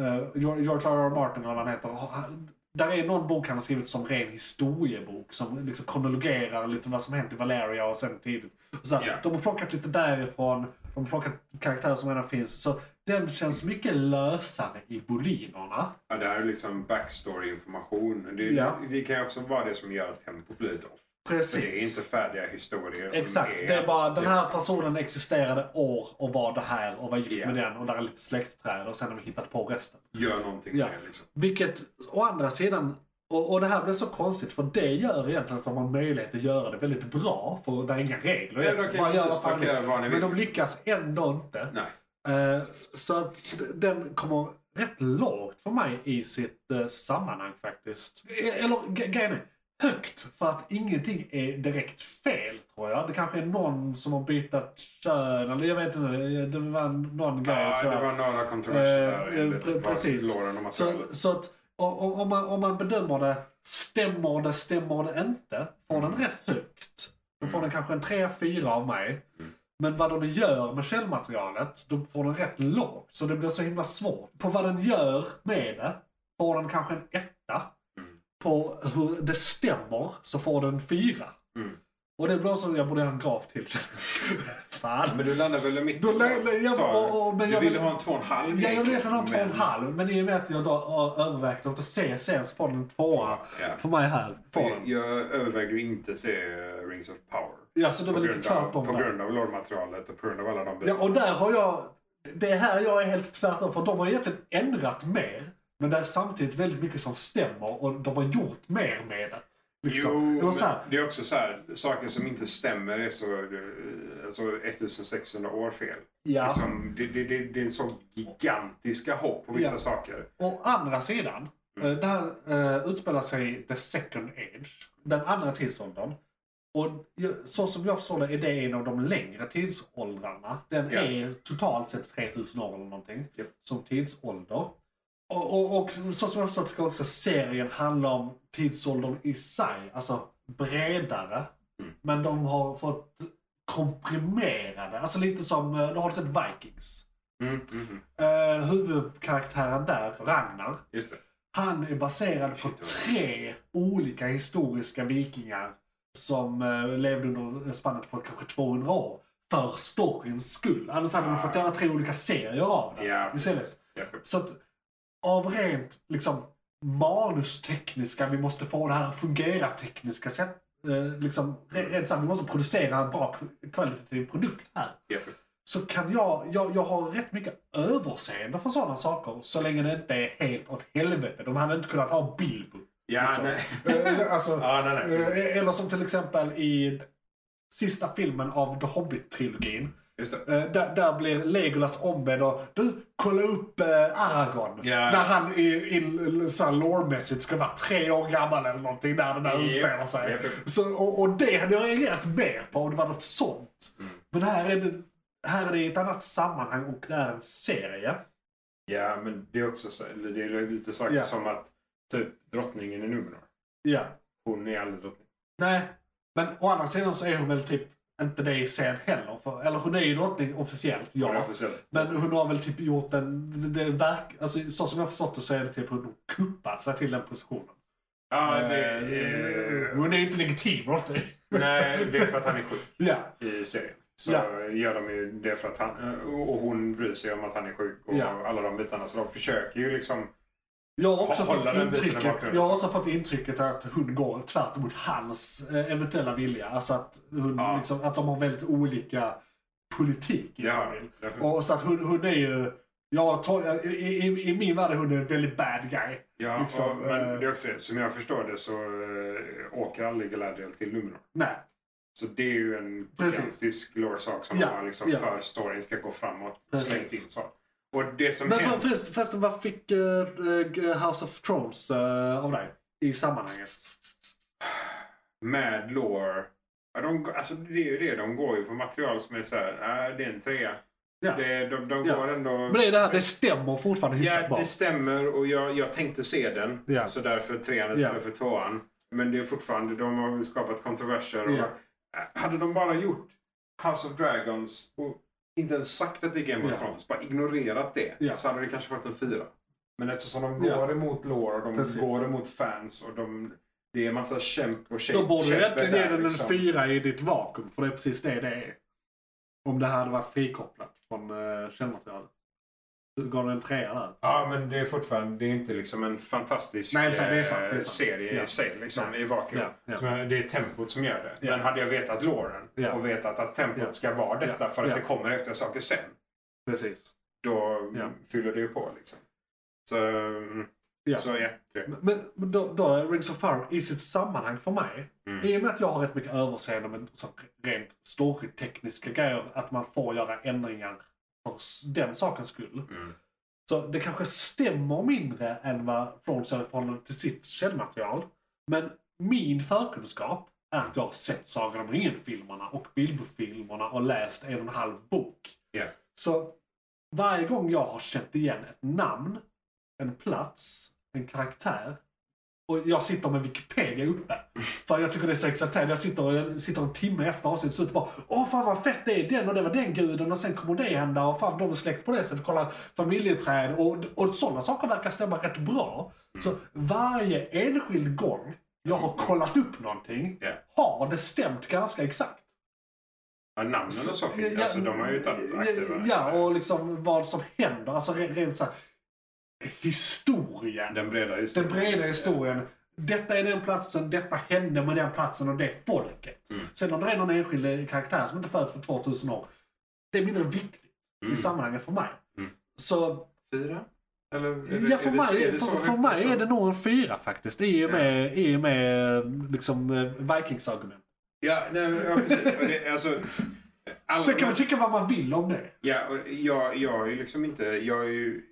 eh, George R. R. Martin eller vad han heter. han- Där är någon bok han har skrivit som ren historiebok som liksom kronologerar lite vad som hänt i Valeria och sen tidigt. Och så här, Ja. De har plockat lite därifrån, de har plockat karaktärer som redan finns. Så den känns mycket lösare i bolinerna. Ja, det här är liksom backstory-information. Det, Ja. det kan ju också vara det som gör att tempot blir lite off. För det är inte Precis. färdiga historier som Exakt, är... det är bara den här liksom- personen existerade år och var det här och var gift Ja. med den och där är lite släktträd och sen har vi hittat på resten. Gör någonting Ja. med det, liksom. Vilket å andra sidan, och, och det här blir så konstigt för det gör egentligen att de har möjlighet att göra det väldigt bra för det är inga regler. Ja, de egentligen. kan Bara ju gör göra vad fan vad ni vill. vill. Men de liksom. lyckas ändå inte. Nej. Eh, så att d- den kommer rätt lågt för mig i sitt eh, sammanhang faktiskt. E-, Eller ge- grejen är, högt för att ingenting är direkt fel tror jag. Det kanske är någon som har bytt kön eller jag vet inte. Det var någon grej. Ja, det sådär. var några kontroverser Eh, där. typ eh, enligt pre- vad precis. Lauren och Mats Så, Alberts. så att o- o- om man, om man bedömer det, stämmer det, stämmer det inte, får Mm. den rätt högt. Då får den kanske en 3-4 av mig. Mm. Men vad de gör med källmaterialet, då får den rätt lågt. Så det blir så himla svårt. På vad den gör med det, får den kanske en etta. Mm. På hur det stämmer, så får den en fyra. Mm. Och det blir också, jag borde ha en graf till. [LAUGHS] Fan. Men du landar väl i mitten? Då lä- lä- ja, Tar- och- och- men du jag- ville ha en två och en halv? Ja, jag vet att den egentligen, har två och en men- halv, men i och med att jag då ö- övervägt att se sen så får den en tvåa Ja. för mig här. Får Jag, den. jag övervägde ju inte se eh, Rings of Power. Ja, så det var På lite grund av- tvärtom På där. grund av lådmaterialet och på grund av alla de Ja, och där har jag... Det är här jag är helt tvärtom, för de har egentligen ändrat mer. Men det är samtidigt väldigt mycket som stämmer och de har gjort mer med det. Liksom. Jo, det var så här, men det är också så här, saker som inte stämmer är så, eh, alltså 1600 år fel. ja. Liksom, det, det, det, det är så gigantiska hopp på vissa Ja. saker. Å andra sidan, Mm. eh, det här eh, utspelar sig i the second age, den andra tidsåldern. Och ju- så som jag förstår det är det en av de längre tidsåldrarna. Den Ja. är totalt sett 3000 år eller någonting Ja. som tidsålder. Och, och, och så som jag förstått ska också serien handla om tidsåldern i sig, alltså bredare. Mm. Men de har fått komprimerade, alltså lite som, eh, du har sett Vikings. Mm, mm, mm. Eh, huvudkaraktären där, Ragnar, Just det. han är baserad på Shit, vad- tre olika historiska vikingar som eh, levde under spannet på kanske 200 år. För storyns skull. Annars hade man Ah. fått göra tre olika serier av det Ja, istället. Ja. Så att av rent liksom, manustekniska, vi måste få det här att fungera tekniska sätt. Eh, liksom, re- rent så här, vi måste producera en bra kv- kvalitativ produkt här Ja. så kan jag, jag, jag har rätt mycket överseende för sådana saker så länge det inte är helt åt helvete. De hade inte kunnat ha Bilbo. Ja, [LAUGHS] Liksom. nej. Eh, alltså, ja, nej, nej. precis. [LAUGHS] eh, eller som till exempel i sista filmen av The Hobbit-trilogin. Just det. Eh, Där, där blir Legolas ombedd att du, kolla upp eh, Aragorn. Ja. När han i, i, så här lore-mässigt ska vara tre år gammal eller någonting när det där Japp, utspelar sig. japp. Så, och, och det hade jag reagerat mer på om det var något sånt. Mm. Men här är, det, här är det i ett annat sammanhang och det är en serie. Ja, men det är också så, eller det är lite saker Ja. som att typ drottningen i Numenor. Ja. Hon är aldrig drottning. Nej, men å andra sidan så är hon väl typ inte det i serien heller. För, eller hon är ju drottning officiellt, ja. Hon är officiellt. Men hon har väl typ gjort en... Det verk, alltså, så som jag har förstått det så är det typ hon har kuppat sig till den positionen. Ja, det, Eh, eh, hon är ju inte legitim, var det? nej, det är för att han är sjuk. Ja. i serien. Så Ja. gör de ju det för att han, eh, och hon bryr sig om att han är sjuk och Ja. alla de bitarna. Så de försöker ju liksom... Jag har också Hålla fått den biten i intrycket, bakgrunden. jag har också fått intrycket att hon går tvärt emot hans eh, eventuella vilja. Alltså att, hon, Ja. liksom, att de har väldigt olika politik i Ja, familjen. därför- Och så att hon, hon är ju... Jag tar, i, i, I min värld är hon en väldigt bad guy. ja, liksom, och, men eh, det är också det. Som jag förstår det så eh, åker aldrig Galadriel till Numenor. Nej. Så det är ju en Precis. gigantisk lore-sak som Ja, de har liksom ja. för storyn ska gå framåt. Precis. Slängt in så. Och det som Men händer... för- förresten, förresten, vad fick eh, eh, House of Thrones eh, av dig? I sammanhanget. med lore. Ja, de, alltså det är ju det, de går ju på material som är så här, äh, det är en trea. Ja. Det, de de Ja. går ändå... Men det är det här, det stämmer fortfarande hyfsat Ja, bra. det stämmer och jag, jag tänkte se den. Ja. Så därför trean Ja. istället för tvåan. Men det är fortfarande, de har väl skapat kontroverser. Och, Ja. Äh, Hade de bara gjort House of Dragons och inte ens sagt att det är Game of Ja. Thrones, bara ignorerat det, Ja. så hade det kanske varit en fyra. Men eftersom de Ja. går emot lore och de Precis. går emot fans och de, det är massa kämp och kämp. Då borde du kämpe egentligen där, ge den en liksom. fyra i ditt vakuum, för det är precis det det är. Om det här hade varit frikopplat från uh, källmaterialet. Du gav den en trea där. Ja, men det är fortfarande det är inte liksom en fantastisk Nej, det är sant, det är sant, eh, det är sant. serie Ja. i sig. Liksom, Ja. I vakuum. Ja, ja. Som jag- Det är tempot som gör det. Ja. Men hade jag vetat låren Ja. och vetat att tempot Ja. ska vara detta Ja. för att Ja. det kommer efter saker sen. Precis. Då mm, Ja. fyller det ju på liksom. Så, mm, Ja. så ja. det- Men men då, då är Rings of Power i sitt sammanhang för mig, Mm. i och med att jag har rätt mycket överseende med så rent storytekniska grejer, att man får göra ändringar för s- den sakens skull. Mm. Så det kanske stämmer mindre än vad From Software förhåller till sitt källmaterial. Men min förkunskap är att jag har sett Sagan om ringen-filmerna och Bilbo-filmerna och läst en och en halv bok. Ja. Så varje gång jag har känt igen ett namn, en plats, en karaktär och jag sitter med Wikipedia uppe. För jag tycker det är så exalterande. Jag sitter, och- jag sitter en timme efter avsnittet och bara Åh fan vad fett det är den och det var den guden och sen kommer det hända och fan de är släkt på det sättet. Kolla familjeträd och, och sådana saker verkar stämma rätt bra. Så varje enskild gång jag har kollat upp någonting Ja. har det stämt ganska exakt. Ja, namnen och så finns Ja, alltså, de har ju tagit aktiva. Ja, och liksom vad som händer. Alltså re- rent så här, historien. Den breda Den historien. Mm. breda historien. Detta är den platsen, detta hände med den platsen och det folket. Mm. Sen om det är någon enskild eh, karaktär som inte föds för 2000 år. Det är mindre viktigt Mm. i sammanhanget för mig. Mm. Så Fyra? Eller? är det- ja, för är det- mig, är det så för, för högt mig liksom? är det nog en fyra faktiskt. I och Ja. med, i och med liksom, eh, Vikings-argument. Ja, nej, men, ja precis. Och [LAUGHS] det, alltså, alla Sen de kan man här- tycka vad man vill om det. Ja, och jag, jag har ju liksom inte... Jag har ju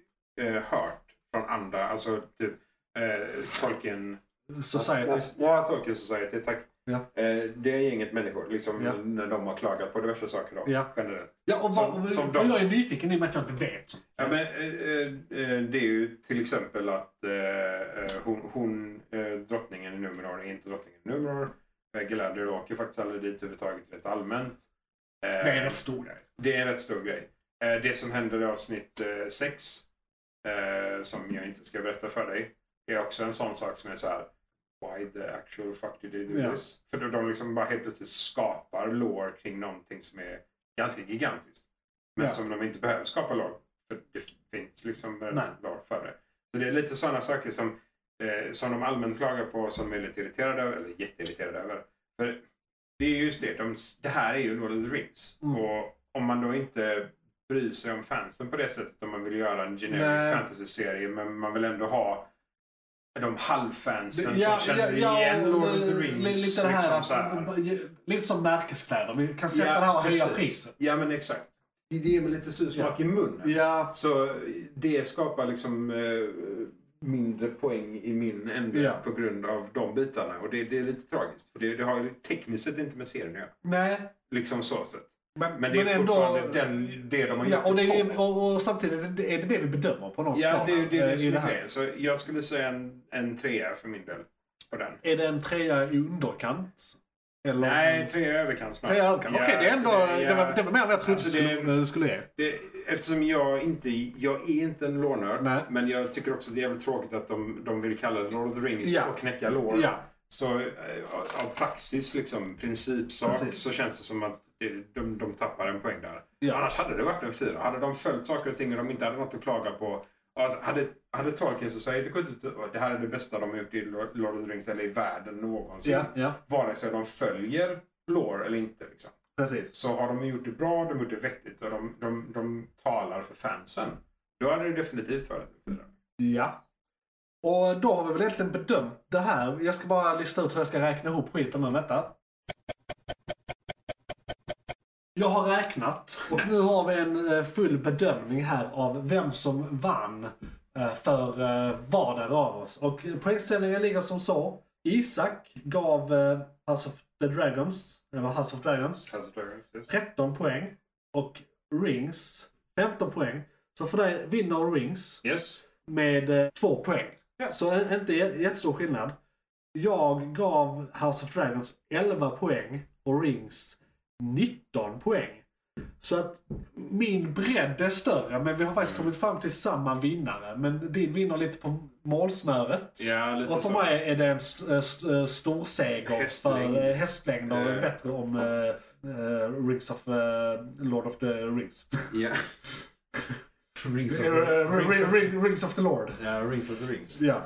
eh, hört från andra, alltså typ eh, Tolkien... Society. Ja, Tolkien Society, tack. Ja. Eh, det är gänget människor, liksom Ja. när de har klagat på diverse saker då, Ja. generellt. Ja, och vad, Som- som för de- jag är nyfiken i och med att jag inte vet. Ja, men, eh, eh, eh, det är ju till exempel att eh, eh, hon, hon eh, drottningen i Numenor är inte drottningen i Numenor. Eh, Galadriel åker faktiskt aldrig dit överhuvudtaget rent allmänt. Eh, Det är en rätt stor grej. det är en rätt stor grej. Eh, det som händer i avsnitt 6, eh, som jag inte ska berätta för dig, är också en sån sak som är så här. Why the actual fuck did they do Ja. this? För de- de liksom bara helt plötsligt skapar lore kring någonting som är ganska gigantiskt. Men Ja. som de inte behöver skapa lore. För det finns liksom Nej. lore för det. Så det är lite sådana saker som, eh, som de allmänt klagar på som är lite irriterade över, eller jätteirriterade över. För det är just det, de, det här är ju Lord of the Rings. Mm. Och om man då inte bryr sig om fansen på det sättet, om man vill göra en generic Nej. fantasy-serie, men man vill ändå ha de halvfansen Ja, som känner ja, ja, igen Lord of the li- Rings. Lite, det här, liksom att- så här. lite som märkeskläder. Vi kan sätta det här och höja precis. priset. Ja, men exakt. Det är det med lite sursmak i munnen. Ja, Så det skapar liksom eh, mindre poäng i min ände Ja. på grund av de bitarna. Och det, det är lite tragiskt. För det, det har ju tekniskt sett inte med serien att göra. nej. Liksom så sett. Men, Men det är men fortfarande den, det de har ja, och, det på. är, och, och samtidigt är det det vi bedömer på något Ja, plan, det är ju det, är eh, det i som är här. grejen. Så jag skulle säga en, en trea för min del. På den. Är det en trea i underkant? Eller Nej, trea är överkant snart. Trea i underkant? Okej, det är alltså ändå... Det, ja. var, det var mer än vad jag trodde Alltså, du skulle, skulle ge. Det, eftersom jag inte, jag är inte en lånörd, Nej. men jag tycker också det är jävligt tråkigt att de, de vill kalla det Lord of the Rings Ja. och knäcka lår. Ja, Så eh, av- av praxis, liksom, principsak, Precis. så känns det som att det- de, de tappar en poäng där. ja. Annars hade det varit en fyra. Hade de följt saker och ting och de inte hade något att klaga på. Alltså, hade, hade Tolkien Society gått ut och det här är det bästa de har gjort i Lord of the Rings eller i världen någonsin. Ja, ja, Vare sig de följer lore eller inte. Liksom precis. så har de gjort det bra, de har gjort det vettigt och de, de, de talar för fansen. Då hade det definitivt varit en fyra. Ja. Och då har vi väl egentligen bedömt det här. Jag ska bara lista ut hur jag ska räkna ihop skiten nu. Vänta. Jag har räknat och nu Nice. har vi en eh, full bedömning här av vem som vann eh, för eh, vardera av oss. Och poängställningen ligger som så. Isak gav eh, House of the Dragons, eller House of Dragons, House of Dragons, just. 13 poäng. Och Rings 15 poäng. Så för dig vinner Rings Yes. med eh, två poäng. Ja. Så eh, inte jä- jättestor skillnad. Jag gav House of Dragons 11 poäng och Rings 19 poäng. Så att min bredd är större, men vi har faktiskt kommit fram till samma vinnare. Men din vinner lite på målsnöret. Ja, lite Och för så. mig är det en st- eh, st- eh, stor seger Hästlängd. för eh, hästlängder är Eh. bättre om eh, eh, Rings of eh, Lord of the Rings. Ja. Rings of Eh, the- Rings of- Rings of the Lord. ja, Rings of the Rings. Ja.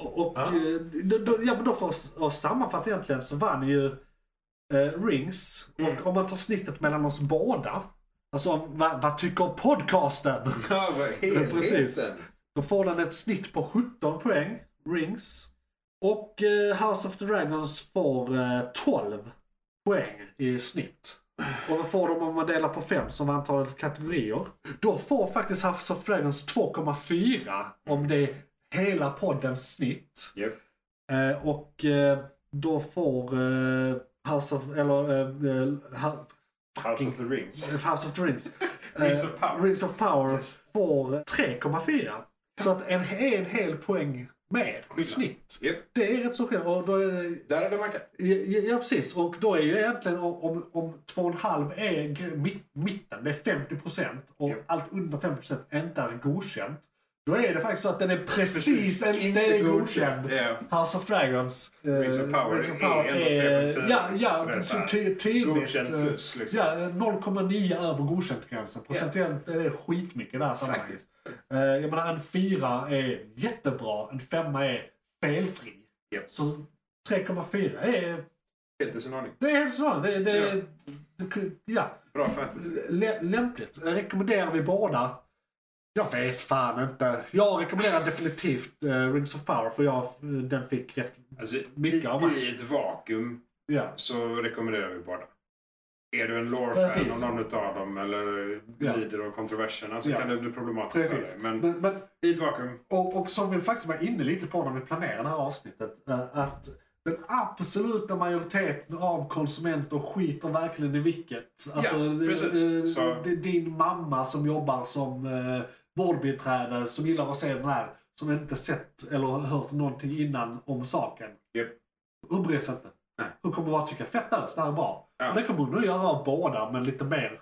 Och, och Ja. eh, då, då, ja, men då för oss, oss sammanfatta egentligen så vann ju eh, Rings. Mm. Och om man tar snittet mellan oss båda. Alltså om- vad vad tycker podcasten? Ja, vad helheten. Precis. Då får den ett snitt på 17 poäng, Rings. Och eh, House of the Dragons får eh, 12 poäng i snitt. Och vad får de om man delar på fem som antalet kategorier? Då får faktiskt House of Dragons 2,4 om det är hela poddens snitt. Japp. Eh, och eh, då får eh, House of... Eller... Eh, eh, Ha- eh, House of the Rings. House of [LAUGHS] Dreams. eh, Rings of Power. Rings of Power Yes. får 3,4. Så att en, en hel poäng mer i snitt. Japp. Det är rätt så skillnad. Och då är det, Där hade man det. ja, ja, ja, precis. Och då är ju egentligen om, om, om 2,5 är gr- mitt, mitten, det är 50% och Ja. allt under 50% inte är godkänt. Då är det faktiskt så att den är precis, Precis, en, inte den är godkänd. godkänd. Ja. House of Dragons. Rings of eh, Power Rings of är Power ändå är- 3,4, Ja, liksom, så det ja är så här, ty, tydligt. Godkänd eh, plus liksom. Ja, 0,9 över godkänt-gränsen. Procentuellt är det skitmycket där sammanhanget. Faktiskt. Eh, Jag menar en fyra är jättebra, en femma är felfri. Japp. Så 3,4 är... Helt i sin ordning. Det är helt så. Det, det, Ja. det kun- ja. Bra fantasy. Lä- lämpligt. Rekommenderar vi båda? Jag vet fan inte. Jag rekommenderar definitivt eh, Rings of Power för jag, den fick rätt. Alltså, Mycket i, av mig. I ett vakuum Ja. så rekommenderar vi båda. Är du en lore-fan Precis. av någon utav dem eller Ja. lider av kontroverserna så Ja. kan det bli problematiskt Precis. för dig. Men Men, men i ett vakuum, Och, och som vi faktiskt var inne lite på när vi planerade det här avsnittet. eh, Att den absoluta majoriteten av konsumenter skiter verkligen i vilket. Alltså, precis. eh, Så- det är din mamma som jobbar som eh, vårdbiträde som gillar att se den här. Som inte sett eller hört någonting innan om saken. Japp. Hon bryr sig inte. Nej. Hon kommer bara tycka fett alls, det här är bra. Ja. Och det kommer hon nog göra av båda, men lite mer.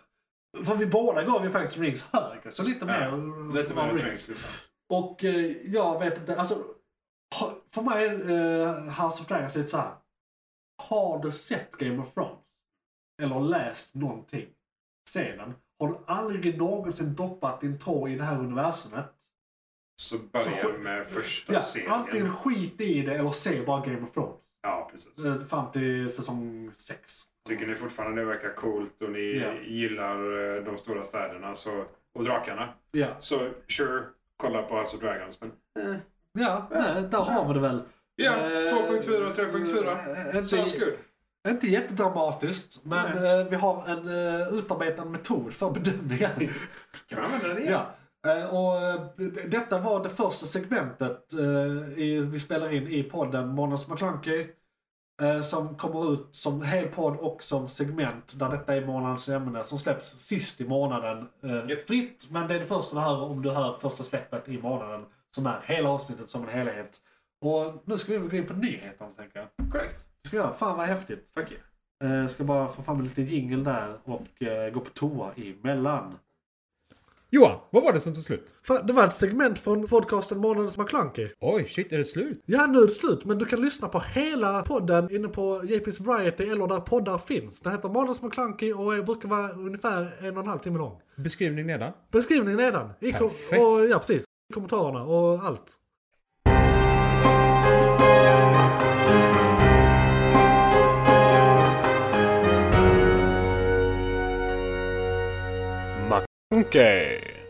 För vi båda gav ju faktiskt Rings högre, så lite Ja. mer. lite av mer Rings. trängs liksom. Och eh, jag vet inte, alltså. ha- För mig är eh, House of Dragons lite såhär. Har du sett Game of Thrones? Eller läst någonting? Sedan. Har du aldrig någonsin doppat din tå i det här universumet? Så börja Så- med första Ja, serien. antingen skit i det eller se bara Game of Thrones. Ja, precis. Eh, Fram till säsong 6. Tycker ni fortfarande det verkar coolt och ni Ja. gillar eh, de stora städerna så, och drakarna Ja. så sure, kolla på House of Dragons. Men... Ja, nej, där har vi det väl. Ja, Eh, 2.4 och 3.4. eh, Så Inte, good. Inte jättedramatiskt, men eh, vi har en eh, utarbetad metod för bedömningar. [LAUGHS] Kan man använda det igen? ja. Eh, och, eh, d- detta var det första segmentet eh, i, vi spelar in i podden Månads McClunky. Eh, som kommer ut som hel podd och som segment där detta är månadens ämne som släpps sist i månaden eh, Japp. fritt. Men det är det första du hör om du hör första släppet i månaden som är hela avsnittet som en helhet. Och nu ska vi väl gå in på nyheterna tänker jag. Korrekt. Det ska jag. Fan vad häftigt. Fuck yeah. Eh, ska bara få fram lite jingle där och eh, gå på toa emellan. Johan, vad var det som tog slut? Fan, det var ett segment från podcasten Månadens McKlunky. Oj, shit, är det slut? Ja, nu är det slut, men du kan lyssna på hela podden inne på JP's Variety eller där poddar finns. Den heter Månadens McKlunky och är- brukar vara ungefär en och en halv timme lång. Beskrivning nedan. Beskrivningen nedan. I kom- Perfekt. och, ja, precis. I kommentarerna och allt. Okay.